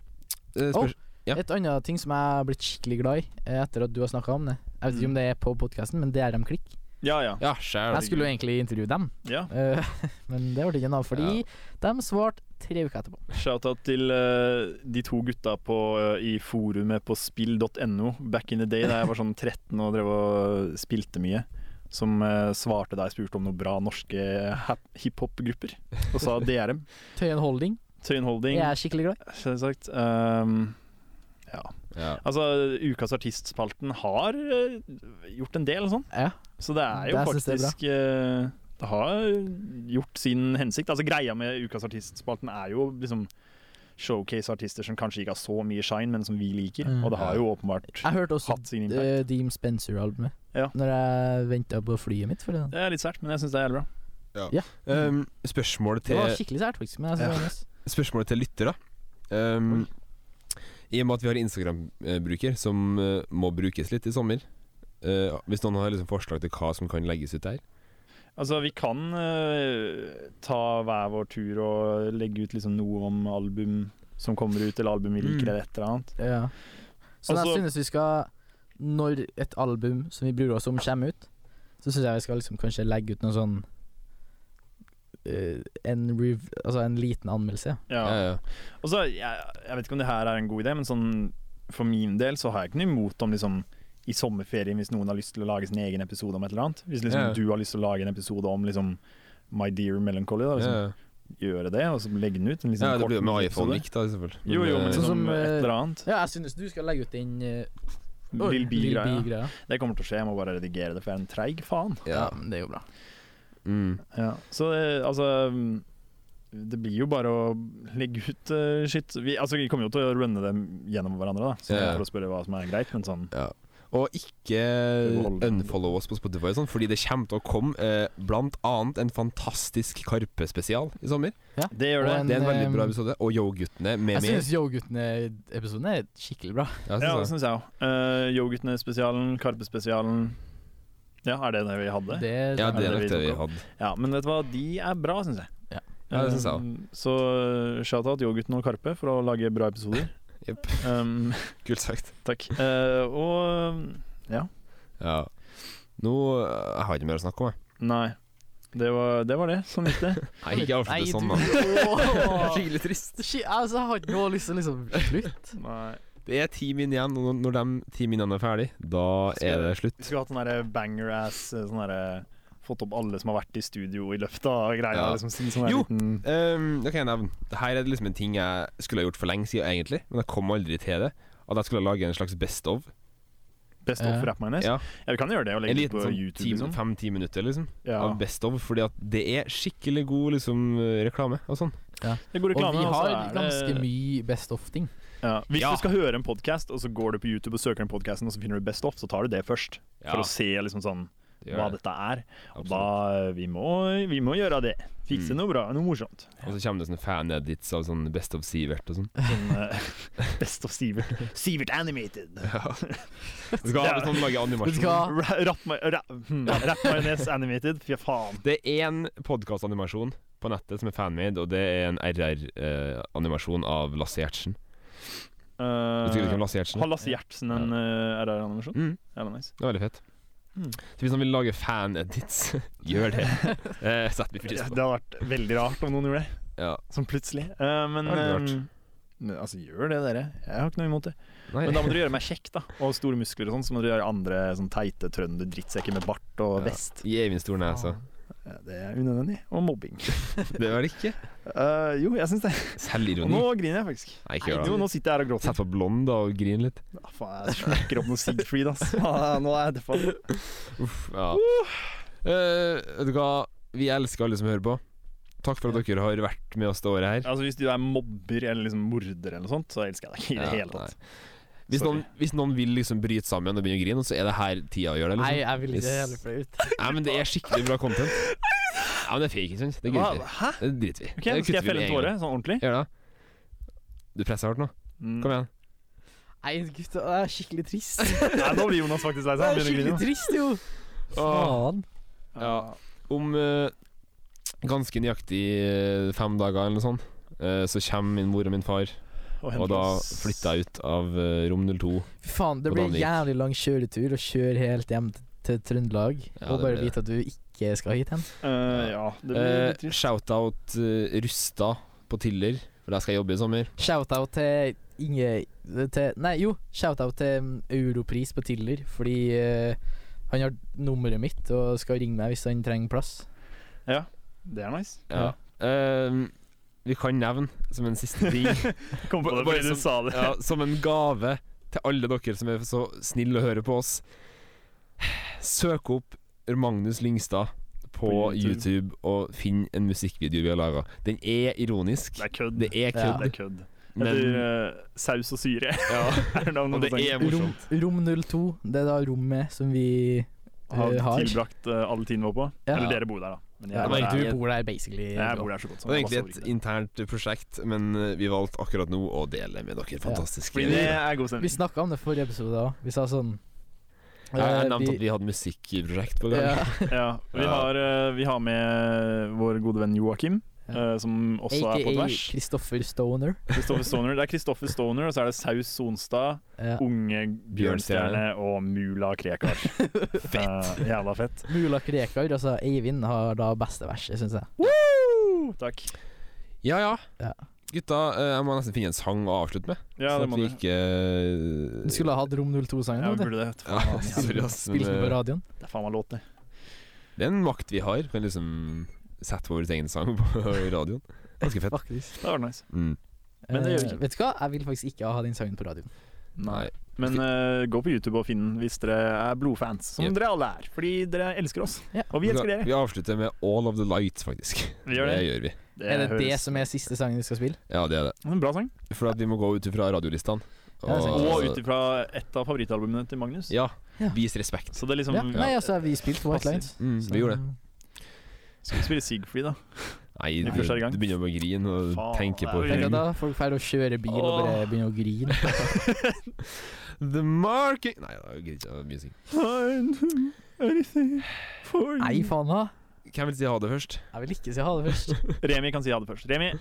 S1: eh, spørs- ja.
S2: Et annet ting som jeg har blitt skikkelig glad i eh, etter at du har snakka om det. Jeg vet ikke
S3: Mm.
S2: om det er på podkasten, men det er dem klikk.
S3: ja, ja.
S1: ja, skjær.
S2: Jeg skulle jo egentlig intervjue dem,
S3: ja.
S2: eh, men det ble ikke noe av fordi de svarte tre uker etterpå.
S3: Shoutout til eh, de to gutta på, eh, i forumet på spill.no back in the day da jeg var sånn 13 og drev og spilte mye. Som eh, svarte da jeg spurte om noen bra norske eh, hap- hiphop-grupper. Og sa DRM.
S2: Tøyen Holding
S3: Tøyen Holding,
S2: jeg er skikkelig glad i.
S3: selvsagt. Um,
S1: Ja.
S3: altså, Ukas artistspalten har eh, gjort en del sånn.
S2: Ja.
S3: Så det er jo
S2: Det synes jeg er
S3: faktisk eh, Det har gjort sin hensikt. Altså Greia med Ukas artistspalten er jo liksom showcase artister som kanskje ikke har så mye shine, men som vi liker.
S2: Mm.
S3: Og det har jo åpenbart
S2: Jeg hørte også
S3: hatt sin impact.
S2: uh, Deam Spencer-albumet
S3: Ja.
S2: når jeg venta på flyet mitt. For det.
S3: Det er litt sært, men jeg syns det er jævlig bra.
S1: Ehm, spørsmålet
S2: det var
S1: til
S2: skikkelig sært, faktisk. Men jeg synes det var nice.
S1: spørsmålet til lyttere. Um, I og med at vi har en Instagram-bruker som eh, må brukes litt i sommer. eh, hvis noen har liksom forslag til hva som kan legges ut der.
S3: Altså, vi kan eh, ta hver vår tur og legge ut liksom noe om album som kommer ut, eller album vi
S1: Mm.
S3: liker, eller et eller annet.
S2: Ja. Så
S3: Altså-
S2: jeg synes vi skal Når et album som vi bryr oss om, kommer ut, så syns jeg vi skal liksom kanskje legge ut noe sånn eh, en, rev, altså en liten anmeldelse.
S3: Ja.
S1: Ja, ja.
S3: Og så, jeg, jeg vet ikke om det her er en god idé, men sånn, for min del så har jeg ikke noe imot om liksom, i sommerferien, hvis noen har lyst til å lage sin egen episode om et eller annet. Hvis liksom,
S1: Ja.
S3: du har lyst til å lage en episode om liksom, My Dear Melancholy, da, liksom,
S1: ja, ja.
S3: gjøre det, og så legge den ut. En, liksom,
S1: ja, det
S3: kort
S1: blir jo med
S3: episode.
S1: iPhone-mic, da, i så fall.
S3: Jo, jo, men
S1: eh,
S2: Sånn
S3: liksom,
S2: som,
S3: et
S2: eh,
S3: eller annet.
S2: Ja, jeg synes du skal legge ut den eh, oi,
S3: Lil
S2: Lil
S3: B-greia.
S2: B-greia.
S3: Det kommer til å skje, jeg må bare redigere det, for jeg er en treig faen.
S2: Ja,
S1: eh, ja.
S2: men det er jo bra.
S1: Mm.
S3: Ja, så eh, altså mm, Det blir jo bare å legge ut eh, shit. Vi, altså, vi kommer jo til å runne dem gjennom hverandre, da, så
S1: Ja.
S3: for å spørre hva som er greit, men sånn
S1: Ja. Og ikke
S3: Behold.
S1: unfollow oss på Spotify, og sånn, fordi det kommer til å komme eh, blant annet en fantastisk Karpe-spesial i sommer.
S3: Det
S2: Og
S3: gjør det.
S2: en-
S1: Det er en veldig bra
S2: ehm,
S1: episode. Og Yo-guttene med
S2: Jeg
S1: mer.
S2: synes Yo-guttene-episoden er skikkelig bra.
S1: Ja,
S3: Ja,
S1: jeg synes
S3: det Eh, syns jeg òg. Uh, Yoghurtene-spesialen, Karpe-spesialen. Ja, er det det vi hadde?
S2: Det,
S1: Ja, det er nok det vi
S3: tok opp.
S1: hadde.
S3: Ja, men vet du hva, de er bra, syns jeg.
S2: Ja.
S1: Ja, det synes jeg også.
S3: Um, Så uh, shout-out Yogutten og Karpe for å lage bra episoder.
S1: Jepp.
S3: Um,
S1: Kult sagt.
S3: takk. Eh, og um, ja.
S1: Ja. Nå eh, Jeg har ikke mer å snakke om, jeg.
S3: Nei. Det var det, var det som likte.
S1: Nei, ikke avslutt det sånn, da.
S2: da.
S1: Skikkelig trist.
S2: Shit, altså, jeg har ikke noe lyst til å liksom slutt.
S3: Nei.
S1: Det er ti min igjen, og når de ti minene er ferdig, da
S3: Skal-
S1: er det
S3: Vi
S1: slutt.
S3: skulle hatt sånn derre banger-ass sånn derre Fått opp alle som har vært i studio i løfta og greier.
S1: Ja.
S3: Liksom, sin, sånn der
S1: Jo.
S3: Liten,
S1: Um, det kan jeg nevne. Her er det liksom en ting jeg skulle ha gjort for lenge siden, egentlig, men jeg kom aldri til det. At jeg skulle lage en slags best of.
S3: best of
S2: Ja.
S3: rap minus. Ja.
S1: Ja,
S3: vi kan gjøre det
S1: en
S3: og legge det
S1: liten
S3: på
S1: sånn
S3: YouTube. Liksom.
S1: fem-ti minutter liksom
S3: Ja.
S1: av best of, fordi at det er skikkelig god liksom reklame og sånn.
S3: Det går
S2: Og
S3: reklame,
S2: vi
S3: og så
S2: har
S3: er det-
S2: ganske mye best of-ting.
S3: Ja. Hvis
S1: Ja.
S3: du skal høre en podkast, og så går du på YouTube og søker den podkasten, og så finner du Best Off, så tar du det først.
S1: Ja,
S3: For å se liksom sånn
S1: det
S3: hva
S1: gjør det.
S3: dette er. Og da
S1: Absolutt.
S3: vi må, vi må gjøre det. Fikse
S1: Mm.
S3: noe bra, noe morsomt.
S1: Og så kommer det sånne fan-edits av sånn Best of Sivert og sånn.
S3: Sånn, eh, best of Sivert. Sivert animated.
S1: Du skal ha sånn lage
S2: Vet du
S1: animasjon.
S2: hva?
S3: Ra- rap- ra- hmm, Rap-majones animated. Fy faen.
S1: Det er én podkastanimasjon på nettet som er fanmade, og det er en RR-animasjon av Lasse Gjertsen. Vet du ikke hvem
S3: Uh,
S1: Lasse Gjertsen er?
S3: har Lasse Gjertsen en eh, RR-animasjon?
S1: Mm,
S3: Ja, det er nice.
S1: det er veldig fett.
S3: Mm.
S1: Så hvis han vil lage fan-edits, gjør det. Eh, Setter vi pris
S3: Ja,
S1: på.
S3: Det hadde vært veldig rart om noen gjorde det,
S1: Ja.
S3: sånn plutselig. Eh, men
S1: Det hadde vært.
S3: ehm, men, altså, gjør det, dere. Jeg har ikke noe imot det.
S1: Nei.
S3: Men da må dere gjøre meg kjekk, da. Og store muskler og sånn. Så må dere gjøre andre sånn teite trønder-drittsekker med bart og
S1: Ja.
S3: vest.
S1: Gi Eivind stor nese.
S3: Ja, det er unødvendig. Og mobbing.
S1: Det var ikke
S3: Eh, jo, jeg syns det. Og nå
S1: selvironi.
S3: griner jeg faktisk.
S1: Nei, ikke gjør
S3: Jo,
S1: det.
S3: nå sitter jeg her og gråter.
S1: Sett på blond da og grin litt.
S3: Ah, faen, jeg smekker opp noe Sigfried, ass. Ah, nå er jeg deppa.
S1: Uff, ja. Eh, vet du hva, vi elsker alle som hører på. Takk for at dere har vært med oss det året her.
S3: Altså, hvis du er mobber eller liksom morder eller noe sånt, så elsker jeg deg ikke i det
S1: Ja,
S3: hele tatt.
S1: nei. Hvis noen, hvis noen vil liksom bryte sammen og begynne å grine, så er det her tida å gjøre det.
S2: Nei,
S1: Liksom.
S2: jeg vil ikke det er
S1: Yes.
S2: jævlig flaut.
S1: Nei, men det er skikkelig bra content. Ja, men det er fake, ikke sant? Det
S3: Hva?
S1: gidder vi.
S3: Hæ?
S1: Det driter vi i.
S3: Ok, nå skal jeg felle en tåre, sånn ordentlig?
S1: Gjør det. Du presser hardt nå.
S3: Mm.
S1: Kom igjen.
S2: Nei, gutt, det er skikkelig trist.
S3: Nei, nå blir Jonas faktisk lei
S2: Det
S3: seg. Han
S2: er
S3: begynner å
S2: skikkelig
S3: grine.
S2: trist, jo. Faen.
S1: Ja. Om eh, ganske nøyaktig eh, fem dager eller noe sånt, eh, så kommer min mor og min far, og da flytter jeg ut av eh, rom 02.
S2: Fy faen, det
S1: Og
S2: blir
S1: Danvik.
S2: jævlig lang kjøretur å kjøre helt hjem til- til Trøndelag
S1: Ja,
S2: og
S1: det blir
S2: bare
S1: det.
S2: vite at du ikke skal hit hen.
S3: Eh, ja, det blir litt
S1: Uh,
S3: trist.
S1: Shout-out eh, Rusta på Tiller, for der skal jeg jobbe i sommer.
S2: Shout-out til Inge til, Nei, jo, shout-out til mm, Europris på Tiller, fordi eh, han har nummeret mitt og skal ringe meg hvis han trenger plass.
S3: Det er nice.
S1: Ja. Eh, vi kan nevne som en siste ting
S3: Kom på det
S1: Bare
S3: fordi
S1: som-
S3: du sa det.
S1: ja, Som en gave til alle dere som er så snille å høre på oss. Søk opp Magnus Lyngstad på,
S3: På
S1: YouTube.
S3: YouTube.
S1: og finn en musikkvideo vi har laga. Den er ironisk.
S3: Det er kødd.
S1: Det er
S2: Ja.
S1: kødd,
S3: Det er kødd.
S1: men
S3: Etter eh, saus og syre.
S1: ja,
S3: er navnet
S1: Og det
S3: på sangen.
S1: er
S2: Rom,
S1: morsomt.
S2: rom 02, det er da rommet som vi eh,
S3: Har
S2: har.
S3: tilbrakt eh, all tiden vår på.
S2: Ja.
S3: Eller dere bor der, da. Men
S2: Ja,
S1: men
S3: bor
S1: ikke
S3: der.
S2: du bor der basically.
S3: jeg bor der så godt
S1: Det
S3: som.
S1: er
S3: Jeg
S1: egentlig
S3: bare sover
S1: et
S3: ikke der.
S1: internt prosjekt, men eh, vi valgte akkurat nå å dele med dere. Fantastisk.
S3: Fordi det er god
S2: Vi
S3: stemning.
S2: snakka om det forrige episode òg. Vi sa sånn
S1: Jeg, jeg
S2: eh,
S1: nevnte at vi hadde musikkprosjekt på gang.
S2: ja,
S3: Ja, vi,
S1: Ja.
S3: har, eh, vi har med vår gode venn Joakim,
S2: Ja.
S3: eh, som også er på
S2: AKA
S3: tvers.
S2: Christopher Stoner.
S3: Kristoffer Stoner. Det er Kristoffer Stoner, og så er det Saus Sonstad,
S2: Ja.
S3: Unge Bjørnstjerne
S1: Bjørnstjerne.
S3: og Mula Krekar. fett! jævla fett.
S2: Mula Krekar, altså Eivind, har da beste verset, syns jeg.
S3: Takk.
S1: Ja, ja.
S2: Ja.
S1: Gutta, eh, jeg må nesten finne en sang å avslutte med.
S3: Ja,
S1: sånn
S3: det
S1: at
S3: må
S1: vi
S3: du.
S1: ikke eh,
S2: Du skulle ha hatt Rom 02-sangen.
S3: Ja, vi
S2: Ja,
S3: burde det. vet du.
S1: ja,
S3: Faen,
S1: sorry, ass, men,
S2: Spilt den på
S1: eh,
S2: radioen.
S3: Det er faen meg låt, det.
S1: det er en makt vi har. Kan liksom sette vår egen sang på radioen. Ganske fett.
S2: Faktisk.
S3: Det var nice.
S1: Mm.
S3: Men det gjør vi
S2: Eh,
S3: ikke.
S2: Vet du hva, jeg vil faktisk ikke ha den sangen på radioen.
S1: Nei.
S3: Men eh, gå på YouTube og finn den hvis dere er blodfans, som
S1: Yep.
S3: dere alle er. Fordi dere elsker oss.
S2: Ja.
S3: Og vi elsker dere.
S1: Vi avslutter med All of the Lights, faktisk.
S3: Vi gjør
S1: Det
S3: det.
S1: gjør vi.
S2: Er det det
S3: høres-
S2: som er siste sangen du skal spille?
S1: Ja, det er det.
S3: Det er En bra sang.
S1: For at vi må gå ut ifra radiolistene.
S2: Ja, det er sant.
S3: Og ut ifra et av favorittalbumene til Magnus.
S1: Ja.
S2: Ja.
S1: Vis respekt.
S3: Så det er liksom
S2: Ja. Nei, altså, vi spilte White
S3: Passer.
S2: Lines.
S1: Mm,
S2: så-
S1: vi gjorde det.
S3: Skal vi spille Sigfrid, da?
S1: Nei,
S3: Vi
S1: du,
S3: først er i gang.
S1: du begynner å grine og
S3: Faen,
S1: tenke på
S3: det er jo
S1: ting.
S2: Tenk at da folk drar å kjøre bil og bare begynner å grine.
S1: the marking Nei, jeg gidder ikke å begynne å synge.
S3: Find him anything for
S2: Nei,
S3: you.
S2: faen da.
S1: Hvem vil si ha det først?
S2: Jeg vil ikke si ha det først.
S3: Remi kan si ha det først. Remi.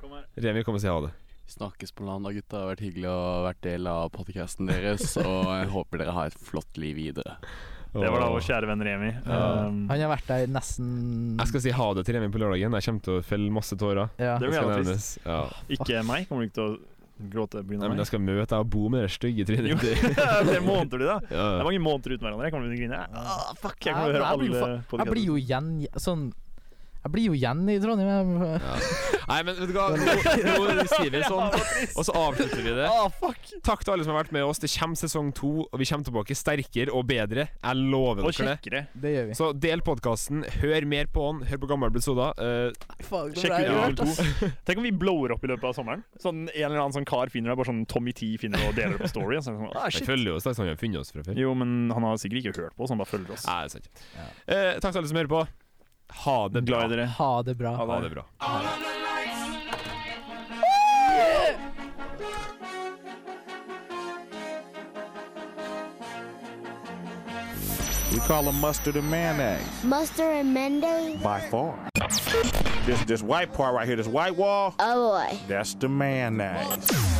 S3: Kom her.
S1: Remi kom og si ha det.
S7: Snakkes på land da, gutta. Det har vært hyggelig å ha vært del av podcasten deres. Og jeg håper dere har et flott liv videre.
S3: Det var da vår kjære venn Remi.
S1: Ja.
S3: Um,
S2: Han har vært der nesten
S1: Jeg skal si ha det til Remi på lørdagen. Jeg kommer til å felle masse tårer.
S2: ja.
S3: Det
S1: Det
S3: blir
S1: skal
S3: jævla
S1: nevnes. Ja.
S3: ikke meg. Kommer du ikke til å gråte pga.
S1: Nei, men
S3: meg?
S1: jeg skal møte deg og bo med det stygge
S3: Jo,
S1: trynet ditt.
S3: det er måneder du, da.
S1: Ja.
S3: Det er mange måneder uten hverandre. Jeg kommer til å grine. Ah, fuck, jeg kommer til å høre
S2: Jeg blir jo
S3: alle
S2: Jeg blir
S3: podkastene.
S2: jo igjen sånn Jeg blir jo igjen i Trondheim. jeg-
S1: Nei, men vet du hva, nå, nå sier vi det sånn, og så avslutter vi det.
S2: Ah,
S1: Takk til alle som har vært med oss. Det kommer sesong to, og vi kommer tilbake sterkere og bedre. Jeg lover
S3: Og
S1: dere det.
S3: kjekkere.
S2: Det gjør vi.
S1: Så del podkasten, hør mer på den, hør på gamle episoder. Eh,
S2: Fuck,
S3: Sjekk ut Idol 2. Tenk om vi blower opp i løpet av sommeren. Sånn En eller annen sånn kar finner deg, bare sånn Tommy T finner deg og deler det på Story. Og så er det sånn, ah,
S1: jeg
S3: shit.
S1: følger jo straks han har funnet oss fra før.
S3: Jo, men han har sikkert ikke hørt på oss, han bare følger oss.
S1: Nei, det er sant. Eh, takk til alle som hører på. Ha det bra.
S3: Glad i dere.
S2: Ha det bra.
S1: Ha det bra.
S4: We call him mustard and mayonnaise.
S5: Mustard and mayonnaise.
S4: By far. This this white part right here, this white wall,
S5: Oh boy.
S4: that's the mayonnaise.